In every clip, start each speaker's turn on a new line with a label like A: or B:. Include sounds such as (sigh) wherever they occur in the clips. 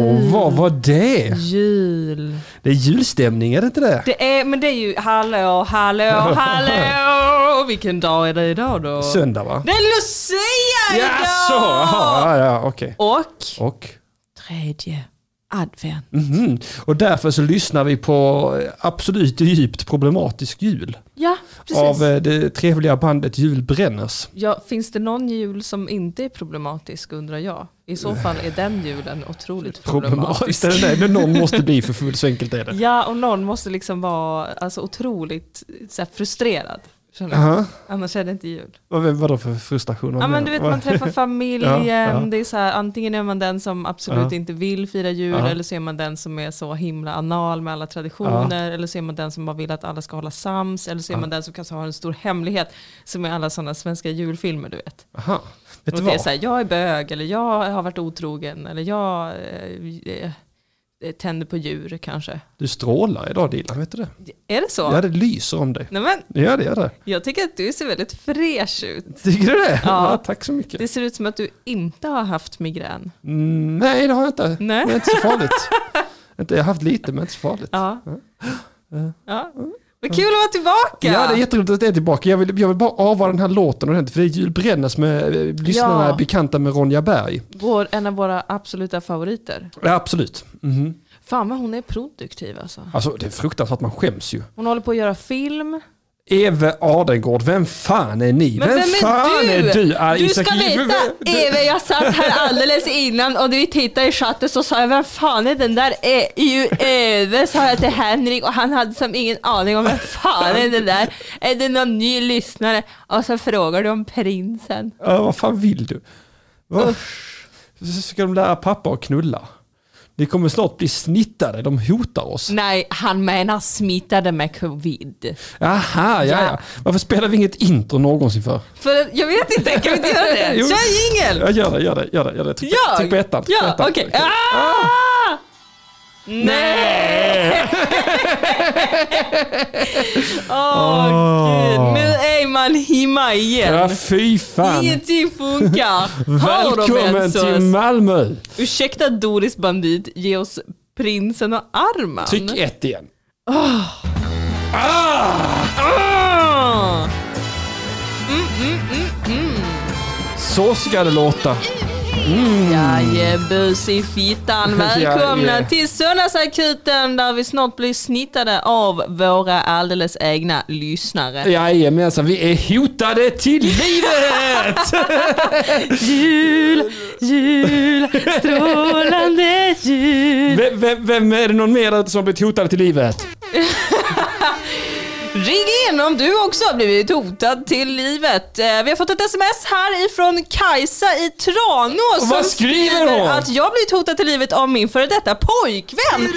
A: var det?
B: Jul.
A: Det är julstämning, är det inte det?
B: Det är, men det är ju hallå, hallå,
A: (laughs)
B: hallå. Vilken dag är det idag då?
A: Söndag va?
B: Det är Lucia idag!
A: Jaså? Jaha, ja, ja, okej.
B: Och
A: Och?
B: tredje advent.
A: Mhm. Och därför så lyssnar vi på eh, Absolut djupt problematisk jul.
B: Ja, precis.
A: Av eh, det trevliga bandet Jul Brännes.
B: Ja, finns det någon jul som inte är problematisk undrar jag? I så fall är den julen otroligt problematisk.
A: Problematiskt är det det? Men någon måste bli för full, så enkelt är det.
B: Ja, och någon måste liksom vara alltså, otroligt eh, så här, frustrerad. Känner jag.
A: Aha.
B: Annars är det inte jul.
A: Vad, vadå för frustration? Vad
B: Ja men
A: menar
B: du vet man
A: (laughs)
B: träffar familjen,
A: Ja, ja.
B: det är så här, antingen är man den som absolut
A: Ja.
B: inte vill fira jul
A: Ja.
B: eller så är man den som är så himla anal med alla traditioner eller så är man den som bara vill att alla ska hålla sams eller så är man den som kanske har en stor hemlighet som är alla sådana svenska julfilmer du vet.
A: Aha. Vet
B: Och
A: du
B: det är
A: vad?
B: så här, jag är bög eller jag har varit otrogen eller jag eh, eh, tänder på djur kanske.
A: Du strålar idag Dilan, vet du det?
B: Är det så?
A: Ja, det lyser om dig.
B: Nej, men,
A: Ja, det gör det.
B: jag tycker att du ser väldigt fräsch ut.
A: Tycker du det?
B: Ja.
A: tack så mycket.
B: Det ser ut som att du inte har haft migrän.
A: Mm, nej, det har jag inte.
B: Nej.
A: Det är inte så
B: (laughs)
A: farligt. Inte- Jag har haft lite, men inte så farligt.
B: Ja. ja. Vad kul att vara tillbaka!
A: Mm. Ja, det är jätteroligt att det är tillbaka. Jag vill, jag vill bara avvara den här låten ordentligt, för det är Jul Brännes med eh, lyssnarna
B: Ja.
A: är bekanta med Ronja Berg.
B: Vår, en av våra absoluta favoriter.
A: Ja, absolut. Mhm.
B: Fan vad hon är produktiv alltså.
A: Alltså, det är fruktansvärt, man skäms ju.
B: Hon håller på att göra film.
A: Eve Ardengård, vem fan är ni?
B: Men vem,
A: fan
B: är du?
A: är du? Ah,
B: du
A: Isak-
B: ska veta, Eva jag satt här alldeles innan och vi tittade i chatten så sa jag vem fan är den där E- ju Eve? Sa jag till Henrik och han hade som ingen aning om vem fan är den där? Är det någon ny lyssnare? Och så frågar du om prinsen.
A: Ja, vad fan vill du? Va? Så ska de lära pappa att knulla. Vi kommer snart bli snittade, de hotar oss.
B: Nej, han menar smittade med covid.
A: Aha, ja,
B: Ja.
A: ja. Varför spelar vi inget intro någonsin för?
B: För att- jag vet inte, kan vi inte göra det?
A: Jo.
B: Kör jingel!
A: Ja, gör det, gör det, gör det. Gör det. Tryck,
B: Jag?
A: tryck på ettan. tryck på
B: Ja,
A: ettan.
B: okej. Ah! Nej!
A: (laughs)
B: Åh gud, nu är man hemma
A: Ja,
B: igen.
A: fy fan.
B: Ingenting funkar. Har de
A: Välkommen
B: ens
A: till
B: oss?
A: Malmö.
B: Ursäkta Doris Bandit, ge oss prinsen och Arman.
A: Tryck ett igen.
B: Ah!
A: Så ska det låta.
B: Jaje, bus i fittan. Välkomna
A: Jaje.
B: till Söndagsakuten där vi snart blir snittade av våra alldeles egna lyssnare.
A: Jajamensan, vi är hotade till
B: (laughs)
A: livet!
B: Jul, jul, strålande jul.
A: Vem, vem, vem är det någon mer där ute som har blivit hotad till livet?
B: Ring in om du också har blivit hotad till livet. Eh, Vi har fått ett sms här ifrån Kajsa i Tranås som
A: Vad skriver hon?
B: att jag har blivit hotad till livet av min före detta pojkvän.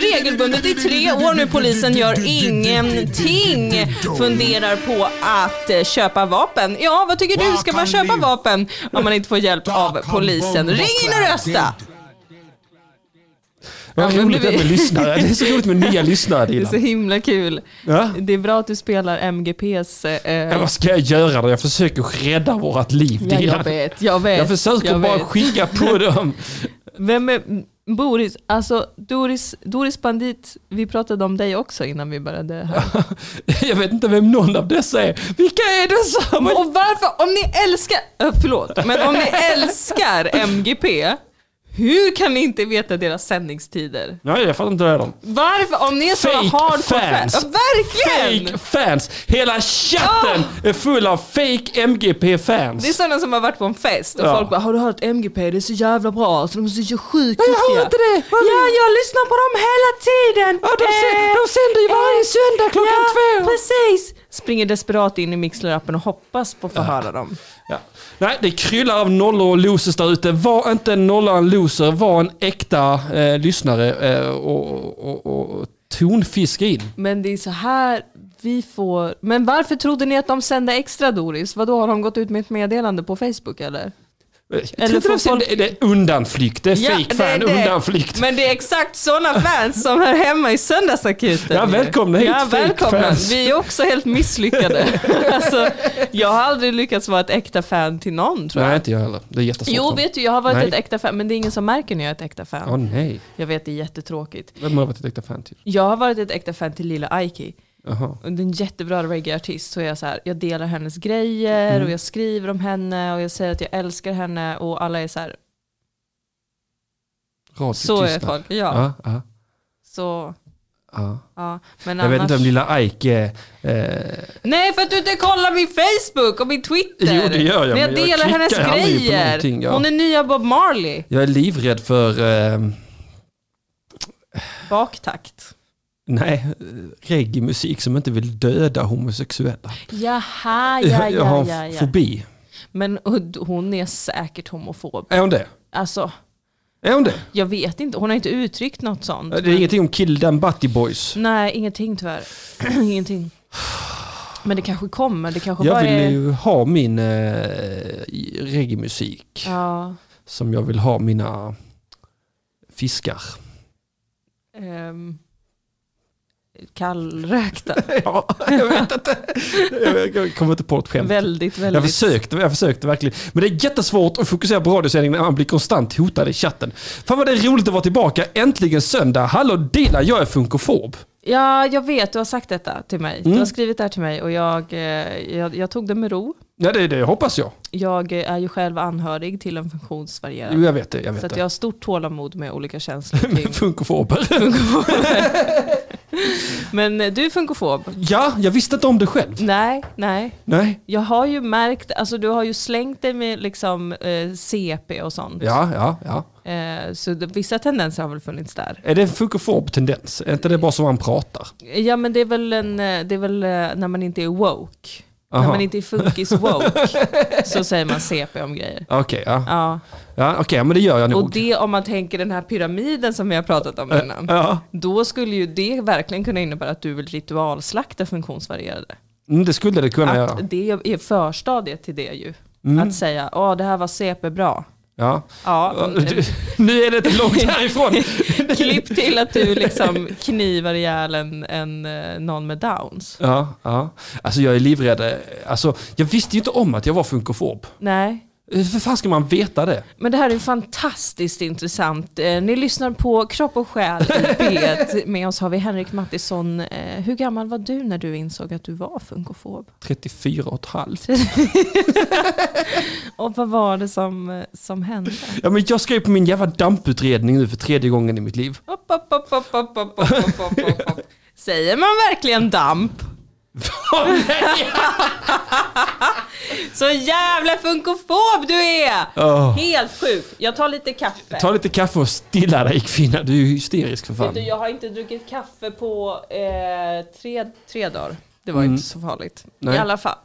B: Regelbundet i tre år nu, polisen gör ingenting. Funderar på att eh, köpa vapen. Ja, vad tycker du? Ska man köpa vapen om man inte får hjälp av polisen? Ring in och rösta!
A: Vad
B: Ja, men
A: roligt
B: du-
A: det är med lyssnare. Det är så roligt med nya lyssnare,
B: (laughs) Det är så
A: Dilan.
B: himla kul.
A: Ja?
B: Det är bra att du spelar MGPs...
A: Ja,
B: Eh,
A: vad ska jag göra då? Jag försöker rädda vårt liv,
B: Ja, jag
A: Dilan.
B: vet, jag vet.
A: Jag försöker
B: jag
A: bara
B: vet.
A: skicka på dem.
B: Vem är m- Boris? Alltså Doris, Doris Bandit, vi pratade om dig också innan vi började här.
A: Jag vet inte vem någon av dessa är. Vilka är dessa? Men-
B: Och varför, om ni älskar, äh, förlåt, men om ni älskar MGP, hur kan ni inte veta deras sändningstider?
A: Nej, jag fattar inte det dem.
B: Varför, om ni är såna
A: Fake
B: hardcore
A: fans.
B: fans? Ja, verkligen!
A: Fake fans! Hela chatten är full av fake MGP-fans.
B: Ah! Det är sådana som har varit på en fest och
A: Ja.
B: folk bara “Har du hört MGP? Det är så jävla bra, alltså, de är så sjukt
A: Nej, jag hör
B: duktiga."
A: inte det. Vad är
B: Ja, jag lyssnar på dem hela tiden!
A: Ja, de,
B: Eh,
A: sä- de sänder ju varje söndag klockan två.
B: precis! Springer desperat in i Mixler-appen och hoppas på att få höra dem.
A: Ja. Nej, det kryllar av nollor och losers där ute. Var inte en nolla och en loser, var en äkta eh, lyssnare eh, och, och, och, och tonfiska in. Eh,
B: Men det är så här vi får... Men varför trodde ni att de sände extra Doris? Vadå, har de gått ut med ett meddelande på Facebook eller?
A: Jag tror
B: Eller
A: inte
B: får
A: det, folk...
B: folk-
A: det, det är undanflykt. Det är
B: Ja,
A: fake
B: det
A: fan
B: är det.
A: undanflykt.
B: Men det är exakt sådana fans som hör hemma i Söndagsakuten.
A: Ja, välkomna hit,
B: Ja,
A: fake
B: välkomna.
A: fans.
B: Vi är också
A: (laughs)
B: helt misslyckade. alltså, jag har aldrig lyckats vara ett äkta fan till någon tror jag.
A: Nej, inte jag heller. Det är jättesvårt.
B: Jo, vet du, jag har varit
A: Nej.
B: ett äkta fan, men det är ingen som märker när jag är ett äkta fan.
A: Åh nej.
B: Jag vet, det är jättetråkigt.
A: Vem har jag varit ett äkta fan till?
B: Jag har varit ett äkta fan till Lila Aiki.
A: Jaha.
B: Och Det är en jättebra reggaeartist. Så jag, så här, jag delar hennes grejer
A: Mm.
B: och jag skriver om henne och jag säger att jag älskar henne och alla är så här,
A: Radio
B: så är
A: tystnad.
B: folk. Ja,
A: Ja, ja,
B: så,
A: ja.
B: ja. Men
A: Jag vet
B: annars...
A: inte om lilla Ike... Eh,
B: Nej, för att du inte kollar min Facebook och min Twitter.
A: Jo, det gör jag,
B: Men jag
A: men jag
B: delar
A: klickar
B: hennes
A: aldrig på
B: grejer.
A: någonting, ja.
B: Hon är nya Bob Marley.
A: jag är livrädd för... Eh,
B: Baktakt.
A: nej, eh, reggae-musik som inte vill döda homosexuella.
B: Jaha, ja,
A: jag, jag har en
B: ja, ja. ja.
A: fobi.
B: Men och- hon är säkert homofob.
A: Är hon det?
B: Alltså,
A: Är hon det?
B: jag vet inte. Hon har inte uttryckt något sånt.
A: Det är ingenting om Kill Them Butty Boys.
B: Nej, ingenting tyvärr. (clears throat) ingenting. Men det kanske kommer. Det kanske
A: Jag
B: bara är...
A: vill ju ha min eh, reggae-musik
B: Ja,
A: som jag vill ha mina
B: (laughs)
A: fiskar.
B: ehm, kallräkta.
A: Ja, (laughs) jag vet inte. Jag- Jag kommer inte på ett skämt.
B: väldigt,
A: Jag
B: väldigt.
A: försökte, jag försökte verkligen. Men det är jättesvårt att fokusera på radiosändningen när man blir konstant hotad i chatten. Fan vad det är roligt att vara tillbaka. Äntligen söndag. Hallå Dila, jag är funkofob.
B: Ja, jag vet. Du har sagt detta till mig. Du
A: Mm.
B: har skrivit det här till mig och jag, eh, jag, jag tog det med ro.
A: Ja, det, det hoppas jag.
B: Jag eh, är ju själv anhörig till en funktionsvarierad.
A: Jo, jag vet det. Jag
B: så
A: vet
B: att
A: det.
B: jag har stort tålamod med olika känslor
A: (laughs)
B: kring
A: Men Funkofober.
B: Men eh, du är funkofob?
A: Ja, jag visste inte om det själv.
B: Nej, nej.
A: Nej.
B: Jag har ju märkt, alltså du har ju slängt dig med liksom eh, CP och sånt.
A: Ja, ja, ja.
B: Eh, så det, vissa tendenser har väl funnits där.
A: Är det en funkofob tendens? Är inte det bara som man pratar?
B: Ja men det är väl, en, eh, det är väl eh, när man inte är woke. När
A: Aha.
B: man inte är funkis-woke så säger man CP om grejer.
A: Okej, ja.
B: Ja.
A: ja okej, men det gör jag
B: Och
A: nog.
B: det om man tänker den här pyramiden som vi har pratat om innan.
A: Ja,
B: Då skulle ju det verkligen kunna innebära att du vill ritualslakta funktionsvarierade.
A: mm, det skulle det kunna göra.
B: Att det är förstadiet till det ju. Att säga, ja det här var CP bra.
A: Ja.
B: Ja, eh,
A: Du- (laughs) Nu är det inte långt härifrån.
B: klipp till att du liksom knivar ihjäl en, en, eh, någon med downs.
A: Ja, ja. Alltså jag är livrädd. Alltså, jag visste ju inte om att jag var funkofob.
B: Nej.
A: Hur fan ska man veta det?
B: Men det här är fantastiskt intressant. Eh, Ni lyssnar på Kropp och själ i P1. Med oss har vi Henrik Mattisson. Eh, Hur gammal var du när du insåg att du var funkofob?
A: 34 och ett halvt.
B: Och vad var det som, eh, som hände?
A: Ja, men jag skrev på min jävla damputredning nu för tredje gången i mitt
B: (laughs)
A: liv.
B: Hopp, hopp, hopp, hopp, hopp, hopp, hopp, hopp, hopp, hopp. Säger man verkligen damp? Så jävla funkofob du är!
A: Åh.
B: Helt sjuk. Jag tar lite kaffe.
A: Ah. Ta lite kaffe och stilla dig kvinna, du är ju hysterisk för
B: Vet
A: fan.
B: du, jag har inte druckit kaffe på eh, tre, tre dagar. Det var inte så farligt.
A: Mm. Nej.
B: I alla fall.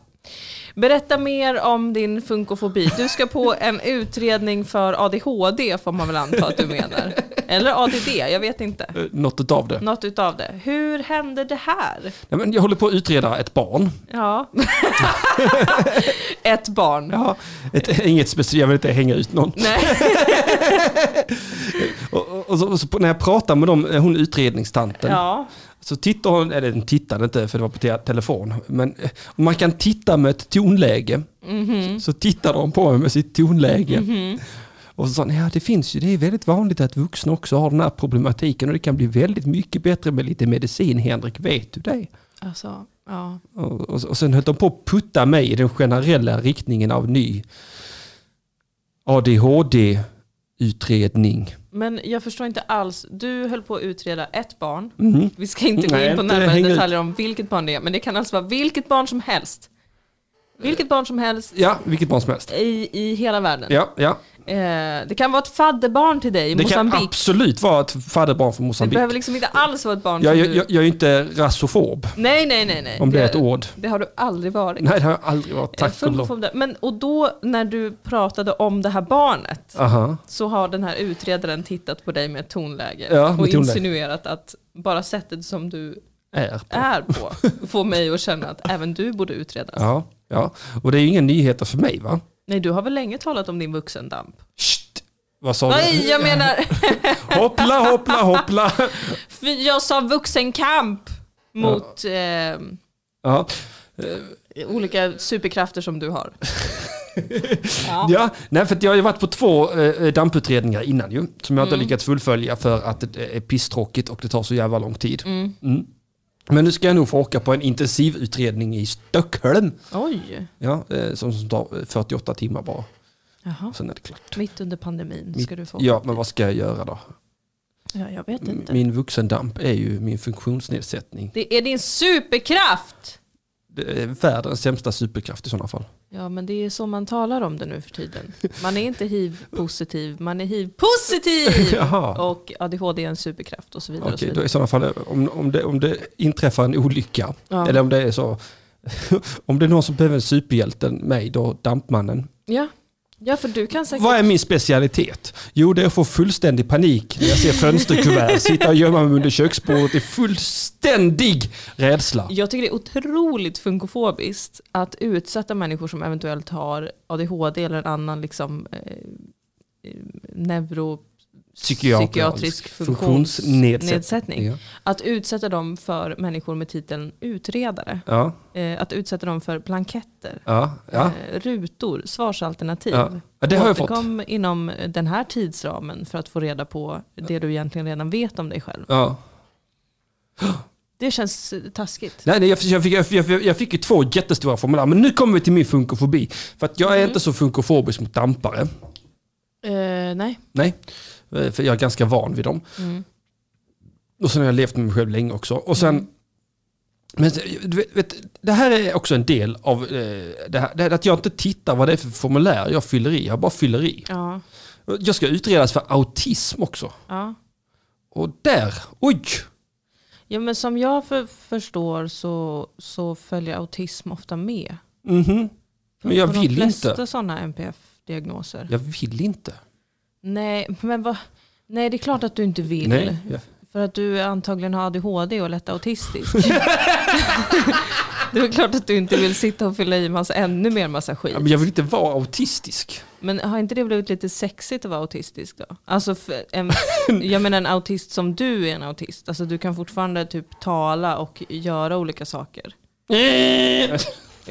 B: Berätta mer om din funkofobi. Du ska på en utredning för ADHD får man väl anta att du menar. Eller ADD, jag vet inte.
A: Eh, Något utav det.
B: Något utav det. Hur hände det här?
A: Nej, men jag håller på att utreda ett barn.
B: Ja. (laughs) Ett barn.
A: Ja, ett, inget speciellt, jag vill inte hänga ut någon. (laughs)
B: Nej.
A: Och, och, och, så, och så på- när jag pratar med dem, eh, hon utredningstanten,
B: Ja.
A: så tittar hon, eller den tittade inte för det var på te- telefon, men eh, om man kan titta med ett tonläge, så, så tittar de på mig med sitt tonläge. Och så sa hon, ja det finns ju, det är väldigt vanligt att vuxna också har den här problematiken och det kan bli väldigt mycket bättre med lite medicin, Henrik, vet du det?
B: Alltså, ja.
A: Och, och, och sen höll de på att putta mig i den generella riktningen av ny ADHD-utredning.
B: Men jag förstår inte alls. Du höll på att utreda ett barn.
A: Mhm.
B: Vi ska inte gå
A: Nej,
B: in på
A: inte
B: närmare
A: hänga ut.
B: detaljer om vilket barn det är, men det kan alltså vara vilket barn som helst. Vilket barn som helst
A: Ja, vilket barn som helst.
B: i, i hela världen.
A: Ja, ja.
B: Eh, det kan vara ett fadderbarn till dig i
A: Det kan
B: Moçambique.
A: absolut vara ett fadderbarn från
B: Det
A: Moçambique.
B: behöver liksom inte alls vara ett barn
A: Jag,
B: som
A: jag, jag, jag är ju inte rasofob,
B: du... Nej, nej, nej. nej.
A: om det är ett ord.
B: Det har du aldrig varit.
A: Nej, det har jag aldrig varit.
B: Jag
A: Tack och lov.
B: funderar på det. Men, och då när du pratade om det här barnet
A: Aha.
B: så har den här utredaren tittat på dig med ett tonläge
A: Ja, med
B: och
A: tonläge.
B: insinuerat att bara sättet som du
A: Är på.
B: är på
A: (laughs)
B: får mig att känna att även du borde utredas.
A: Ja, ja. Och det är ju inga nyheter för mig va?
B: Nej, du har väl länge talat om din vuxendamp?
A: Shht! Vad sa
B: Nej, jag menar,
A: du? Hoppla, hoppla, hoppla.
B: för jag sa vuxenkamp mot eh,
A: Ja.
B: olika superkrafter som du har. ja.
A: Ja, nej, för att jag har ju varit på två eh, damputredningar innan ju, som
B: Mm.
A: jag inte har lyckats fullfölja för att det är pisstråkigt och det tar så jävla lång tid. Mm. Men nu ska jag nog få åka på en intensivutredning i Stockholm,
B: Oj,
A: ja, eh, som, som tar 48 timmar bara,
B: Jaha.
A: och sen är det klart.
B: mitt under pandemin ska du få.
A: Ja, men vad ska jag göra då?
B: Ja, jag vet inte.
A: Min vuxendamp är ju min funktionsnedsättning.
B: Det är din superkraft!
A: Det är världens sämsta superkraft i sådana fall.
B: Ja, men det är så man talar om det nu för tiden. Man är inte hiv-positiv, man är hiv-positiv!
A: (laughs) Jaha.
B: Och ADHD är en superkraft och så vidare. Och så
A: Okej, då
B: vidare.
A: i sådana fall, om, om, det, om det inträffar en olycka,
B: Ja.
A: eller om det är så, (laughs) om det är någon som behöver en superhjälte, mig då, dampmannen.
B: Ja. ja, för du kan säkert...
A: Vad är min specialitet? Jo, det är att få fullständig panik när jag ser
B: (laughs)
A: fönsterkuvert, sitta och gömma mig under köksbordet i fullständig rädsla.
B: Jag tycker det är otroligt funkofobiskt att utsätta människor som eventuellt har ADHD eller en annan liksom, eh, eh,
A: Psykiatrisk
B: neuropsykiatrisk
A: funktionsnedsättning.
B: funktionsnedsättning.
A: Ja.
B: Att utsätta dem för människor med titeln utredare.
A: Ja,
B: Eh, att utsätta dem för blanketter,
A: ja, ja.
B: eh, rutor, svarsalternativ.
A: Ja. Ja, det har jag fått.
B: Återkom inom den här tidsramen för att få reda på det du egentligen redan vet om dig själv.
A: ja.
B: Det känns eh, taskigt.
A: Nej, nej jag, fick, jag, fick, jag, fick, jag fick ju två jättestora formulär, men nu kommer vi till min funkofobi. För att
B: Mm.
A: jag är inte så funkofobisk mot dampare.
B: Eh, nej.
A: Nej, eh, för jag är ganska van vid dem.
B: Mm.
A: Och sen har jag levt med mig själv länge också. Och sen, men du vet, vet, det här är också en del av eh, det här, det här, att jag inte tittar vad det är för formulär jag fyller i. Jag bara fyller i.
B: Ja.
A: Jag ska utredas för autism också.
B: ja.
A: Och där, oj!
B: Ja, men som jag för, förstår så, så följer autism ofta med.
A: Mhm. Men jag
B: på de
A: vill
B: flesta
A: inte.
B: sådana NPF-diagnoser.
A: Jag vill inte.
B: Nej, men vad? Nej, det är klart att du inte vill.
A: Nej, jag,
B: För att du antagligen har ADHD och lätt autistisk. (laughs) det är klart att du inte vill sitta och fylla i massa, ännu mer massa skit.
A: ja, men jag vill inte vara autistisk.
B: Men har inte det blivit lite sexigt att vara autistisk då? Alltså för
A: (laughs)
B: en, jag menar en autist som du är en autist. Alltså du kan fortfarande typ tala och göra olika saker. Eh!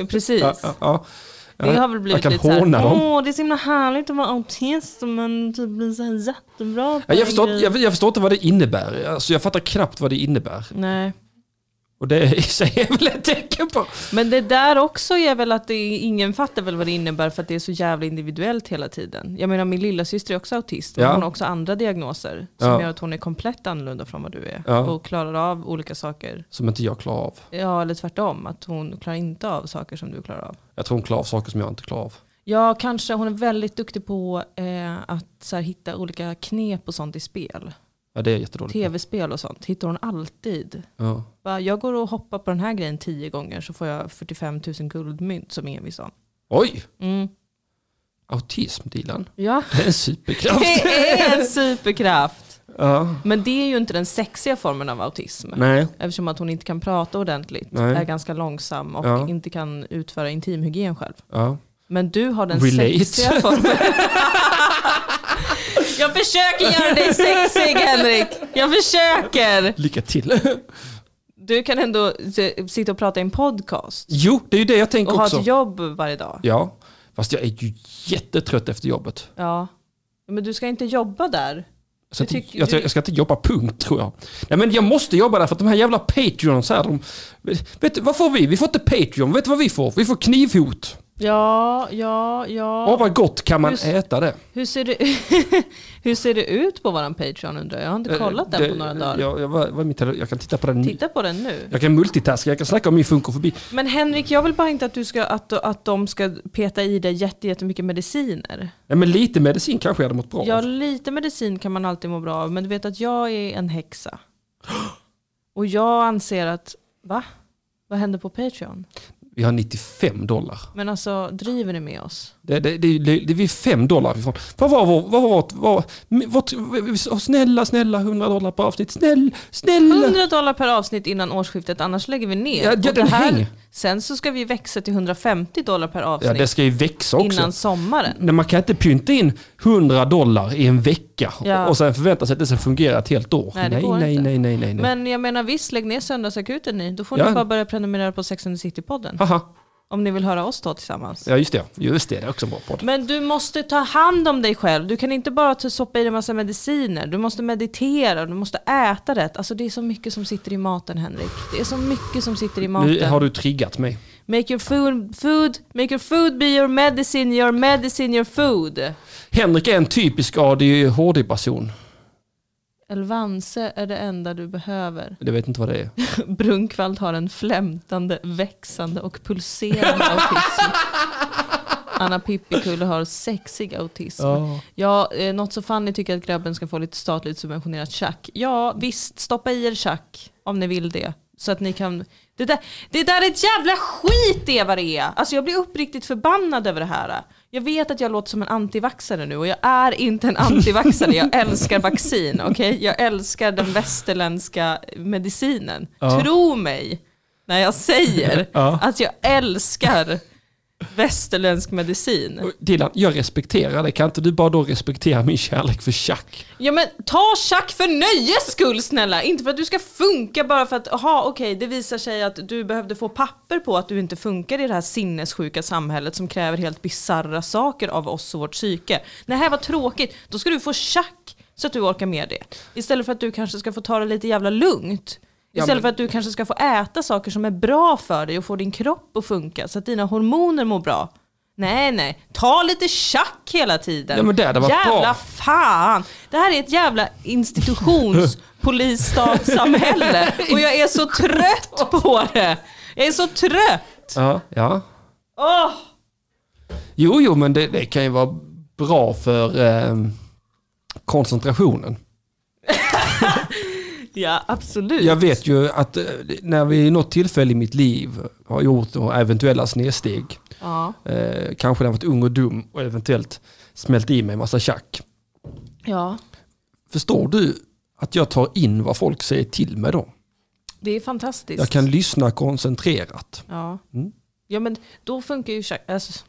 B: Precis.
A: Ja, ja, ja.
B: Det har väl blivit
A: jag
B: lite
A: kan håna
B: såhär,
A: dem.
B: åh det är så himla härligt att vara autist men typ blir såhär jättebra på
A: Ja,
B: en
A: jag, förstår,
B: grej."
A: jag, jag förstår inte vad det innebär. Alltså, jag fattar knappt vad det innebär.
B: Nej.
A: Och det är i sig är väl ett tecken på...
B: Men det där också är väl att det, är- ingen fattar väl vad det innebär för att det är så jävla individuellt hela tiden. Jag menar min lillasyster är också autist men
A: Ja.
B: hon har också andra diagnoser som
A: Ja.
B: gör att hon är komplett annorlunda från vad du är
A: Ja.
B: och klarar av olika saker.
A: Som inte jag klarar av.
B: Ja eller tvärtom, att hon klarar inte av saker som du klarar av.
A: Jag tror hon klarar av saker som jag inte klarar av.
B: Ja kanske, hon är väldigt duktig på eh, att så här, hitta olika knep och sånt i spel.
A: Ja, det är jättedåligt.
B: Tv-spel och sånt hittar hon alltid.
A: Ja.
B: Bara, jag går och hoppar på den här grejen tio gånger så får jag 45 000 guldmynt som ingen visste om.
A: Oj!
B: Mm.
A: Autism, Dilan.
B: Ja.
A: Det är en superkraft.
B: Det är en superkraft.
A: ja.
B: Men det är ju inte den sexiga formen av autism.
A: Nej.
B: Eftersom att hon inte kan prata ordentligt,
A: Nej.
B: är ganska långsam och
A: Ja.
B: inte kan utföra intimhygien själv.
A: Ja.
B: Men du har den
A: Relate. (laughs)
B: sexiga formen. Jag försöker göra dig sexig Henrik. Jag försöker.
A: Lycka till. (laughs)
B: Du kan ändå s- sitta och prata i en podcast.
A: Jo, det är ju det jag tänker
B: Och ha
A: också.
B: ett jobb varje dag.
A: Ja. Fast jag är ju jättetrött efter jobbet.
B: Ja. Men du ska inte jobba där.
A: Jag ska,
B: Du
A: inte,
B: tycker-
A: jag, jag ska inte jobba punkt tror jag. Nej men jag måste jobba där för att de här jävla Patreons här, de, vet du vad får vi? Vi får inte Patreon, vet du vad vi får? Vi får knivhot.
B: Ja, ja,
A: Åh
B: ja.
A: vad gott kan man
B: Just-
A: äta det?
B: Hur ser det, (laughs) hur ser det ut på våran Patreon undrar jag? Jag har inte kollat den
A: Eh, Det-
B: på några dagar.
A: Jag, jag, vad, vad är min tele- jag kan titta på den nu.
B: Titta på den nu.
A: Jag kan multitaska, jag kan snacka om min funkofobi.
B: Men Henrik, jag vill bara inte att, du ska, att, att de ska peta i dig jätte- jättemycket mediciner.
A: Nej men lite medicin kanske jag hade mått bra av.
B: Ja, lite medicin kan man alltid må bra av, men du vet att jag är
A: (gasps)
B: en häxa. Och jag anser att, va? Vad händer på Patreon?
A: Vi har 95 dollar.
B: Men alltså, driver ni med oss?
A: Det, det, det, det, det, vi är 5 dollar ifrån. Vad var vårt... Vad var vårt... Vad, vårt vi sa, snälla, snälla 100 dollar per avsnitt. Snäll, snälla!
B: 100 dollar per avsnitt innan årsskiftet, annars lägger vi ner.
A: Ja, ja,
B: Och
A: den häng.
B: Sen så ska vi växa till 150 dollar per
A: Ja,
B: avsnitt
A: det ska ju växa också.
B: innan sommaren.
A: Nej, man kan inte pynta in 100 dollar i en vecka
B: Ja.
A: och sen förvänta sig att det ska fungera ett helt år.
B: Nej, det
A: nej,
B: går
A: nej,
B: inte.
A: nej, nej, nej. nej.
B: Men jag menar visst, lägg ner söndagsakuten ni. Då får
A: Ja.
B: ni bara börja prenumerera på Sex and the City-podden.
A: Haha.
B: Om ni vill höra oss då tillsammans.
A: Ja, just det. Just det, det är också en bra podd.
B: Men du måste ta hand om dig själv. Du kan inte bara ta- soppa i dig en massa mediciner. Du måste meditera, du måste äta rätt. Alltså det är så mycket som sitter i maten Henrik. Det är så mycket som sitter
A: Nu
B: i maten.
A: har du triggat mig.
B: Make your food, food, make your food be your medicine, your medicine, your food.
A: Henrik är en typisk ADHD-person.
B: Elvanse är det enda du behöver. (laughs)
A: Jag vet inte vad det är.
B: Brunkvald har en flämtande, växande och
A: (laughs)
B: pulserande autism. Anna Pippikulle har sexig autism.
A: Ja.
B: Ja, eh, något så fan ni tycker att grabben ska få lite statligt subventionerat tjack. Ja, visst, stoppa i er tjack om ni vill det. Så att ni kan... Det där, det där är ett jävla skit det är vad det är! Alltså jag blir uppriktigt förbannad över det här. Jag vet att jag låter som en antivaxare nu och jag är inte en antivaxare. Jag älskar vaccin, okej? Jag älskar den västerländska medicinen.
A: Ja.
B: Tro mig när jag säger
A: Ja.
B: att jag älskar västerländsk medicin.
A: Och Dilan, jag respekterar det. Kan inte du bara då respektera min kärlek för schack?
B: Ja men ta tjack för nöjes skull snälla! Inte för att du ska funka bara för att, aha okej det visar sig att du behövde få papper på att du inte funkar i det här sinnessjuka samhället som kräver helt bizarra saker av oss och vårt psyke. Nej här var tråkigt, då ska du få tjack så att du orkar med det. Istället för att du kanske ska få ta det lite jävla lugnt.
A: Ja, men-
B: Istället för att du kanske ska få äta saker som är bra för dig och få din kropp att funka så att dina hormoner mår bra. Nej nej, ta lite tjack hela tiden.
A: Ja, men det hade varit
B: jävla
A: bra.
B: fan! Det här är ett jävla institutions
A: (laughs)
B: polisstatssamhälle och jag är så trött på det. Jag är så trött.
A: Ja. ja.
B: Åh!
A: Jo, jo, men det, det kan ju vara bra för ehm, koncentrationen.
B: Ja, absolut.
A: Jag vet ju att eh, när vi i något tillfälle i mitt liv har gjort några eventuella snedsteg,
B: Ja.
A: eh, kanske när jag varit ung och dum och eventuellt smält i mig en massa tjack.
B: ja,
A: Förstår du att jag tar in vad folk säger till mig då?
B: det är fantastiskt.
A: Jag kan lyssna koncentrerat.
B: Ja.
A: Mm.
B: ja, men då funkar ju tjack. Alltså,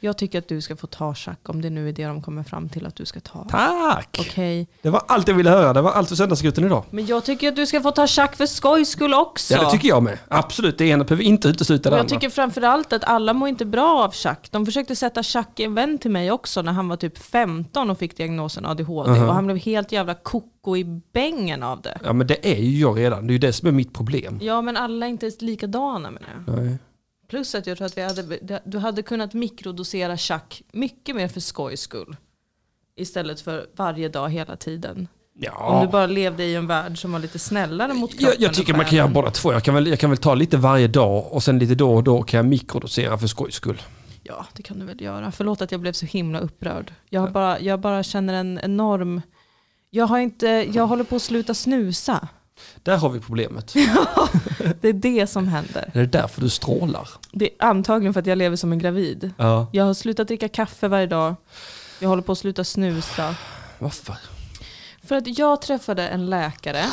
B: jag tycker att du ska få ta tjack om det nu är det de kommer fram till att du ska ta.
A: Tack!
B: Okej.
A: Det var allt jag ville höra. Det var allt för Söndagsgruppen idag.
B: Men jag tycker att du ska få ta tjack för skojs skull också.
A: Ja, det tycker jag med. Absolut, det ena behöver inte utesluta
B: Och
A: det
B: jag
A: andra.
B: tycker framförallt att alla mår inte bra av tjack. De försökte sätta tjack i en vän till mig också när han var typ 15 och fick diagnosen ADHD.
A: Uh-huh.
B: Och han blev helt jävla koko i bängen av det.
A: Ja, men det är ju jag redan. Det är ju det som är mitt problem.
B: Ja men alla är inte likadana med det.
A: Nej.
B: Plus att jag tror att vi hade, du hade kunnat mikrodosera tjack mycket mer för skojs skull. Istället för varje dag hela tiden. Om du
A: Ja.
B: bara levde i en värld som var lite snällare mot kroppen.
A: Jag, jag
B: och
A: tycker man kan
B: själen.
A: göra båda två. Jag kan, väl, jag kan väl ta lite varje dag och sen lite då och då kan jag mikrodosera för skojs skull.
B: Ja, det kan du väl göra. Förlåt att jag blev så himla upprörd. Jag, har bara, jag bara känner en enorm... Jag, har inte, jag håller på att sluta snusa.
A: Där har vi problemet.
B: (laughs) Det är det som händer.
A: Det är därför du strålar.
B: Det är antagligen för att jag lever som en gravid.
A: Ja.
B: Jag har slutat dricka kaffe varje dag. Jag håller på att sluta snusa.
A: Varför?
B: För att jag träffade en läkare,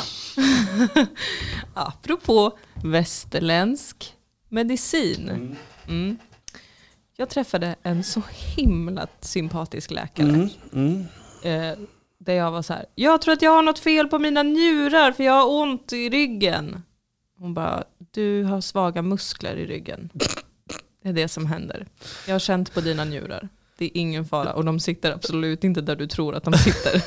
B: (laughs) apropå västerländsk medicin. Mm. Jag träffade en så himla sympatisk läkare. Eh, där jag var så här, jag tror att jag har något fel på mina njurar för jag har ont i ryggen. Hon bara, du har svaga muskler i ryggen. Det är det som händer. Jag har känt på dina njurar. Det är ingen fara och de sitter absolut inte där du tror att de sitter.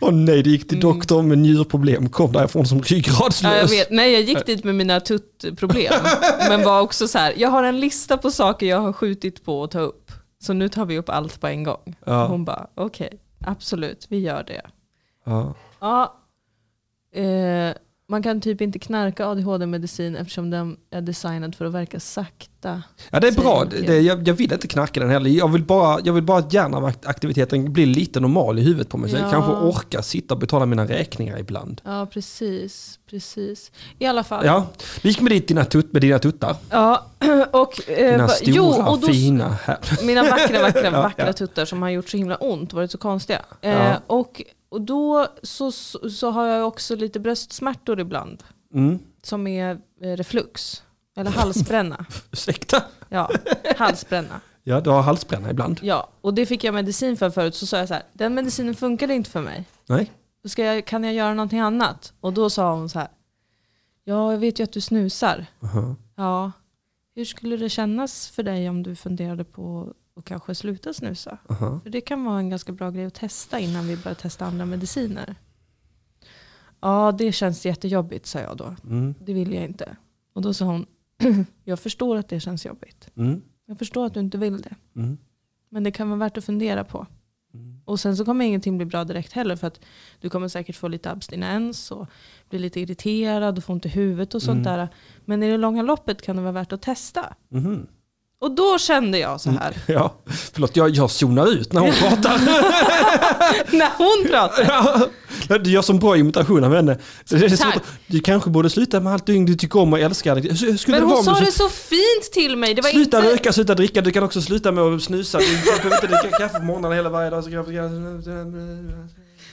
A: Åh nej, det gick till doktorn med njurproblem. Kom därifrån som ryggradslös.
B: Mm. Ja, jag vet. Nej, jag gick dit med mina tuttproblem. Men var också så här, jag har en lista på saker jag har skjutit på att ta upp. Så nu tar vi upp allt på en gång.
A: Ja.
B: Hon bara, okej, absolut, vi gör det.
A: Ja.
B: Ja, eh, man kan typ inte knarka ADHD-medicin eftersom den är designad för att verka sakta.
A: Ja, det är
B: Säger
A: bra.
B: hon till.
A: Det, jag, jag vill inte knacka den heller. Jag vill bara, jag vill bara att hjärnaktiviteten blir lite normal i huvudet på mig. Så jag
B: Ja.
A: kanske orkar sitta och betala mina räkningar ibland.
B: Ja, precis. precis. I alla fall.
A: Ja, vi gick med dit dina tut, med dina tuttar.
B: Ja, (clears throat) och... Eh,
A: Dina
B: va-
A: stora,
B: jo, och då,
A: fina. Här.
B: mina vackra, vackra, vackra
A: ja.
B: tuttar som har gjort så himla ont, varit så konstiga. Eh,
A: Ja.
B: och, och då så, så, så har jag också lite bröstsmärtor ibland,
A: Mm.
B: som är eh, reflux. Eller halsbränna.
A: Ursäkta?
B: Ja, halsbränna.
A: Ja, du har halsbränna ibland.
B: Ja, och det fick jag medicin för förut. Så sa jag så här, den medicinen funkade inte för mig.
A: Nej?
B: Då Ska jag, kan jag göra någonting annat? Och då sa hon så här, ja jag vet ju att du snusar.
A: Aha.
B: Ja, hur skulle det kännas för dig om du funderade på att kanske sluta snusa?
A: Aha.
B: För det kan vara en ganska bra grej att testa innan vi börjar testa andra mediciner. Ja, det känns jättejobbigt, sa jag då.
A: Mm.
B: Det vill jag inte. Och då sa hon, (clears throat) jag förstår att det känns jobbigt.
A: Mm.
B: Jag förstår att du inte vill det.
A: Mm.
B: Men det kan vara värt att fundera på.
A: Mm.
B: Och sen så kommer ingenting bli bra direkt heller för att du kommer säkert få lite abstinens och bli lite irriterad och få ont i huvudet och sånt
A: Mm.
B: där. Men i det långa loppet kan det vara värt att testa.
A: Mhm.
B: Och då kände jag så här,
A: Ja, förlåt, jag, jag zonar ut när hon pratar. (laughs) Mm.
B: (laughs) när hon pratade.
A: Ja, du gör som bra imitation av henne. Det är så
B: Tack.
A: att- Du kanske borde sluta med allt du tycker om och älskar. Hur skulle (laughs)
B: Men
A: det vara
B: hon
A: om du slutade-
B: sa det så fint till mig. Det var
A: Sluta
B: inte...
A: röka, sluta dricka, du kan också sluta med att snusa. Du behöver inte dricka kaffe på morgnarna hela varje dag. så kan-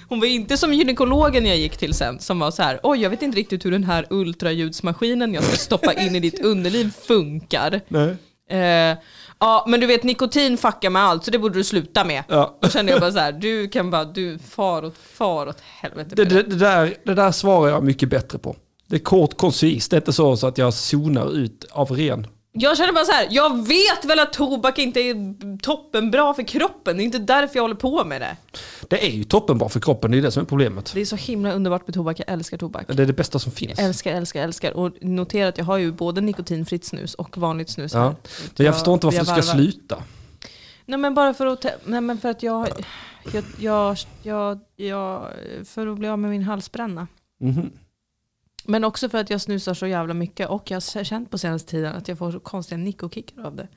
B: Hon var inte som gynekologen jag gick till sen som var så här, oj jag vet inte riktigt hur den här ultraljudsmaskinen jag ska stoppa in i ditt underliv funkar.
A: Nej.
B: Eh, ja men du vet nikotin fuckar med allt så det borde du sluta med.
A: Ja.
B: Då kände jag bara så här, du kan bara, du far åt, far åt helvete.
A: Det,
B: med
A: det, det, där, det där svarar jag mycket bättre på. Det är kort, koncist. Det är inte så, så att jag zonar ut av ren.
B: Jag känner bara så här, jag vet väl att tobak inte är toppenbra för kroppen. Det är inte därför jag håller på med det.
A: Det är ju toppenbra för kroppen, det är det som är problemet.
B: Det är så himla underbart med tobak, jag älskar tobak.
A: Det är det bästa som finns.
B: Älskar, älskar, älskar. Och notera att jag har ju både nikotinfritt snus och vanligt snus. här.
A: Ja. Men jag förstår inte varför
B: jag
A: du ska
B: varvar.
A: sluta.
B: Nej men bara för att, te- nej, men för att jag, jag, jag, jag, jag, för att bli av med min halsbränna.
A: Mhm.
B: Men också för att jag snusar så jävla mycket och jag har känt på senaste tiden att jag får så konstiga nikokickar av det.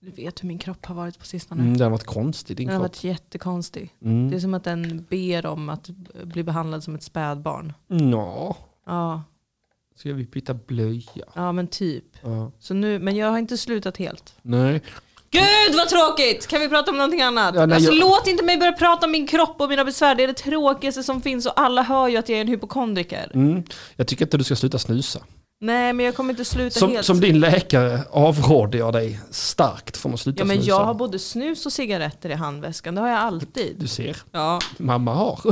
B: Du vet hur min kropp har varit på sistone.
A: Mm, det har varit konstigt, din
B: Den har
A: kropp.
B: varit jättekonstig. Det
A: Mm.
B: är som att den ber om att bli behandlad som ett spädbarn.
A: Nå,
B: Ja,
A: ska vi byta blöja?
B: ja men typ.
A: Ja.
B: Så nu, men jag har inte slutat helt.
A: Nej.
B: Gud vad tråkigt! Kan vi prata om någonting annat?
A: Ja, nej,
B: alltså,
A: jag-
B: Låt inte mig börja prata om min kropp och mina besvär. Det är det tråkigaste som finns och alla hör ju att jag är en hypokondriker.
A: Mm. Jag tycker inte du ska sluta snusa.
B: Nej men jag kommer inte sluta
A: Som,
B: helt.
A: som din läkare avråder jag dig starkt från att sluta
B: ja, men
A: snusa.
B: jag har både snus och cigaretter i handväskan. Det har jag alltid.
A: Du ser,
B: Ja. (laughs)
A: mamma har. (laughs)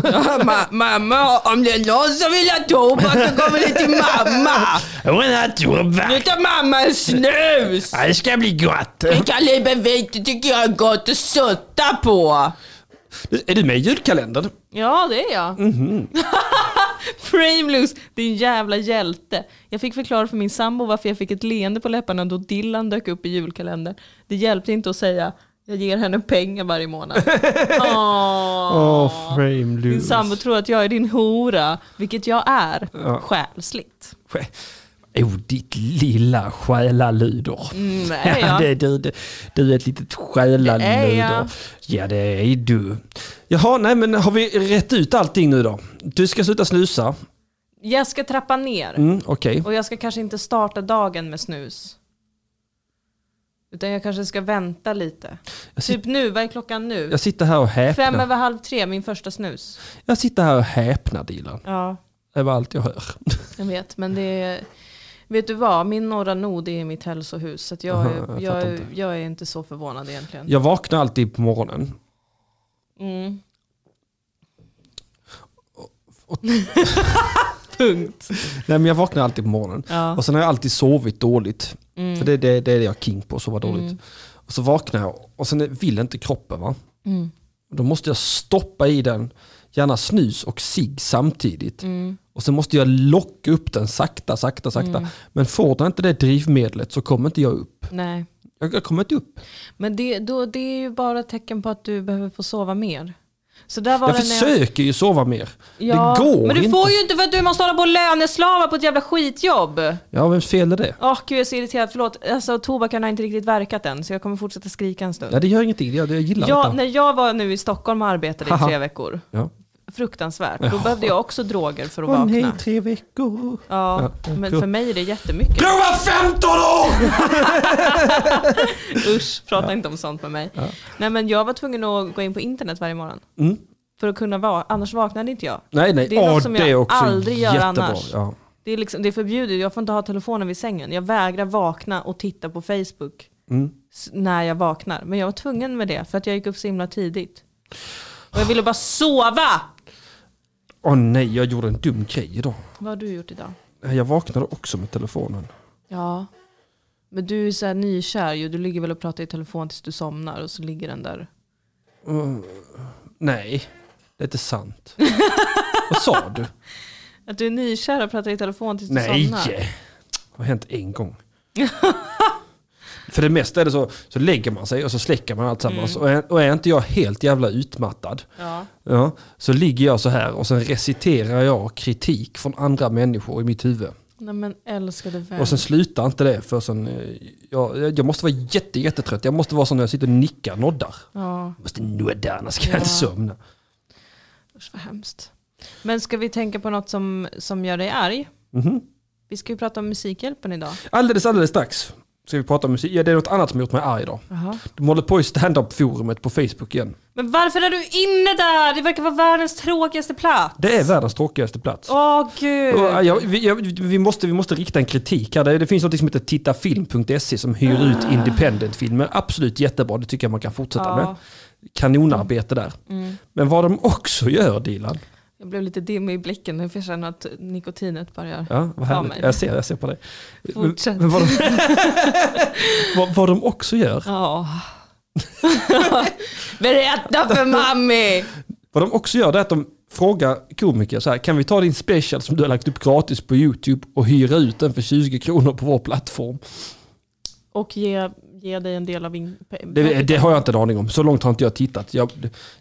B: Ma- mamma, om det är någon som vill ha tobak så kommer det till mamma.
A: Hon har
B: Nu
A: tobak.
B: tar mamma en snus.
A: Det ska bli gott.
B: En kaliber vit det tycker jag är gott att sutta på.
A: Är du med i julkalendern?
B: Ja, det är jag.
A: Mhm.
B: (laughs) Frameless, din jävla hjälte. Jag fick förklara för min sambo varför jag fick ett leende på läpparna då Dylan dök upp i julkalendern. Det hjälpte inte att säga jag ger henne pengar
A: (laughs)
B: varje månad. Åh.
A: Åh, oh, frame
B: Din sambo tror att jag är din hora, vilket jag är.
A: Ja.
B: Själsligt.
A: Oh, ditt lilla själaluder.
B: Mm, det är
A: Ja,
B: jag.
A: det är du, det- du är ett litet själaluder.
B: Det är jag.
A: Ja, det är du. Jaha, nej men har vi rätt ut allting nu då? Du ska sluta snusa.
B: Jag ska trappa ner.
A: Mm, Okej.
B: Och jag ska kanske inte starta dagen med snus. Utan jag kanske ska vänta lite.
A: Jag sit-
B: Typ nu, vad är klockan nu?
A: Jag sitter här och häpnar.
B: Fem över halv tre, min första snus.
A: Jag sitter här och häpnar Dilan.
B: Ja,
A: Det var allt jag hör.
B: jag vet. Men det är... Vet du vad, min norra nod är mitt hälsohus. Så att jag,
A: Aha,
B: är,
A: (laughs) jag
B: jag,
A: fattar
B: är,
A: inte.
B: jag är inte så förvånad egentligen.
A: Jag vaknar alltid på morgonen.
B: Mm. Punkt.
A: Nej men jag vaknar alltid på morgonen.
B: Ja.
A: Och sen har jag alltid sovit dåligt.
B: Mm.
A: För det, det, det är det jag är king på, sova dåligt.
B: Mm.
A: Och så vaknar jag och sen vill inte kroppen va.
B: Mm.
A: Då måste jag stoppa i den, gärna snus och cigg samtidigt.
B: Mm.
A: Och sen måste jag locka upp den sakta, sakta, sakta.
B: Mm.
A: Men får den inte det drivmedlet så kommer inte jag upp.
B: Nej.
A: Jag, jag kommer inte upp.
B: Men det, då, det är ju bara ett tecken på att du behöver få sova mer. Så där var
A: Jag
B: det när jag-
A: försöker ju sova mer.
B: Ja,
A: det går
B: Men du
A: inte.
B: får ju inte för att du måste hålla på och löneslava på ett jävla skitjobb.
A: Ja, vems fel är det?
B: Åh gud jag är så irriterad, förlåt. Alltså tobaken har inte riktigt verkat än så jag kommer fortsätta skrika en stund.
A: Ja, det gör ingenting, jag, jag gillar
B: Jag,
A: detta.
B: när jag var nu i Stockholm och arbetade i
A: Haha.
B: tre veckor,
A: Ja.
B: fruktansvärt, då
A: Ja.
B: behövde jag också droger för att
A: Åh nej,
B: vakna.
A: tre veckor.
B: Ja,
A: Ja,
B: men
A: cool.
B: för mig är det jättemycket.
A: Jag var 15 år!
B: Usch, prata inte om sånt med mig. Nej men jag var tvungen att gå in på internet varje morgon.
A: Mm.
B: För att kunna vara, annars vaknade inte jag.
A: Nej, nej.
B: Det är något
A: Åh,
B: som
A: det
B: jag
A: också
B: aldrig gör
A: jättebra.
B: annars.
A: Ja.
B: Det är, liksom, det är förbjudet, jag får inte ha telefonen vid sängen. Jag vägrar vakna och titta på Facebook
A: Mm.
B: s- när jag vaknar. Men jag var tvungen med det för att jag gick upp så himla tidigt. Och jag ville bara sova!
A: Åh nej, jag gjorde en dum grej idag.
B: Vad har du gjort idag?
A: Jag vaknade också med telefonen.
B: Ja. Men du är så här nykär ju. Du ligger väl och pratar i telefon tills du somnar och så ligger den där.
A: Nej, det är inte
B: (laughs)
A: sant. Vad sa du?
B: Att du är nykär och pratar i telefon tills du
A: Nej!
B: somnar.
A: Det har hänt en gång. (laughs) För det mesta är det så, så lägger man sig och så släcker man allt sammans.
B: Mm.
A: Och, är, och är inte jag helt jävla utmattad,
B: Ja.
A: ja, så ligger jag så här och sen reciterar jag kritik från andra människor i mitt huvud.
B: Nej men älskade vän.
A: Och sen slutar inte det för sen, eh, jag, jag måste vara jätte, jättetrött. Jag måste vara sån när jag sitter och nickar noddar.
B: Ja,
A: Jag måste nudda annars kan
B: Ja.
A: jag inte somna.
B: usch vad hemskt. Men ska vi tänka på något som, som gör dig arg?
A: Mhm.
B: Vi ska ju prata om Musikhjälpen idag.
A: Alldeles, alldeles strax ska vi prata om musik. Ja, det är något annat som gjort mig arg idag. De håller på i standup-forumet på Facebook igen.
B: Men varför är du inne där? Det verkar vara världens tråkigaste plats.
A: Det är världens tråkigaste plats.
B: Åh gud.
A: Och, ja, vi, ja, vi, måste, vi måste rikta en kritik här. Det, det finns något som heter tittafilm.se som
B: Ah.
A: hyr ut independent-filmer. Absolut jättebra, det tycker jag man kan fortsätta med.
B: ja,
A: Kanonarbete där.
B: Mm.
A: Men vad de också gör Dilan,
B: jag blev lite dimmig i blicken nu för jag känner att nikotinet börjar.
A: ja, vad
B: Ta
A: härligt.
B: mig.
A: Jag ser, jag ser på dig.
B: Fortsätt.
A: vad, de,
B: (laughs)
A: vad, vad de också gör,
B: Ja. (laughs) Berätta
A: (laughs)
B: för mammi!
A: Vad de också gör det är att de frågar komiker så här, kan vi ta din special som du har lagt upp gratis på YouTube och hyra ut den för 20 kronor på vår plattform?
B: Och ge, ge dig en del av in... pe-
A: Det, det har jag inte en aning om, så långt har inte jag tittat. Jag,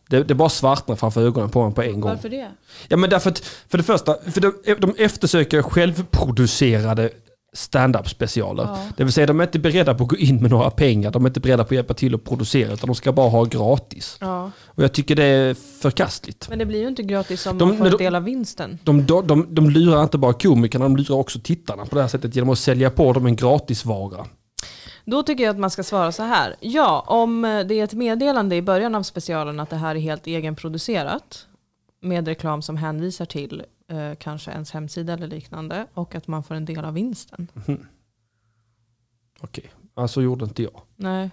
A: det, det bara svartnar framför ögonen på mig på en gång.
B: Varför det?
A: Ja men därför att, för det första, för de, de eftersöker självproducerade stand-up specialer.
B: Ja.
A: Det vill säga de är inte beredda på att gå in med några pengar, de är inte beredda på att hjälpa till att producera utan de ska bara ha gratis.
B: Ja.
A: Och jag tycker det är förkastligt.
B: Men det blir ju inte gratis om
A: De-
B: man får
A: men
B: en
A: de-
B: del av vinsten.
A: De, de, de, de lurar inte bara komikerna, de lurar också tittarna på det här sättet genom att sälja på dem en gratisvara.
B: Då tycker jag att man ska svara så här. Ja, om eh, det är ett meddelande i början av specialen att det här är helt egenproducerat med reklam som hänvisar till eh, kanske ens hemsida eller liknande och att man får en del av vinsten.
A: Okej, så alltså gjorde inte jag.
B: Nej,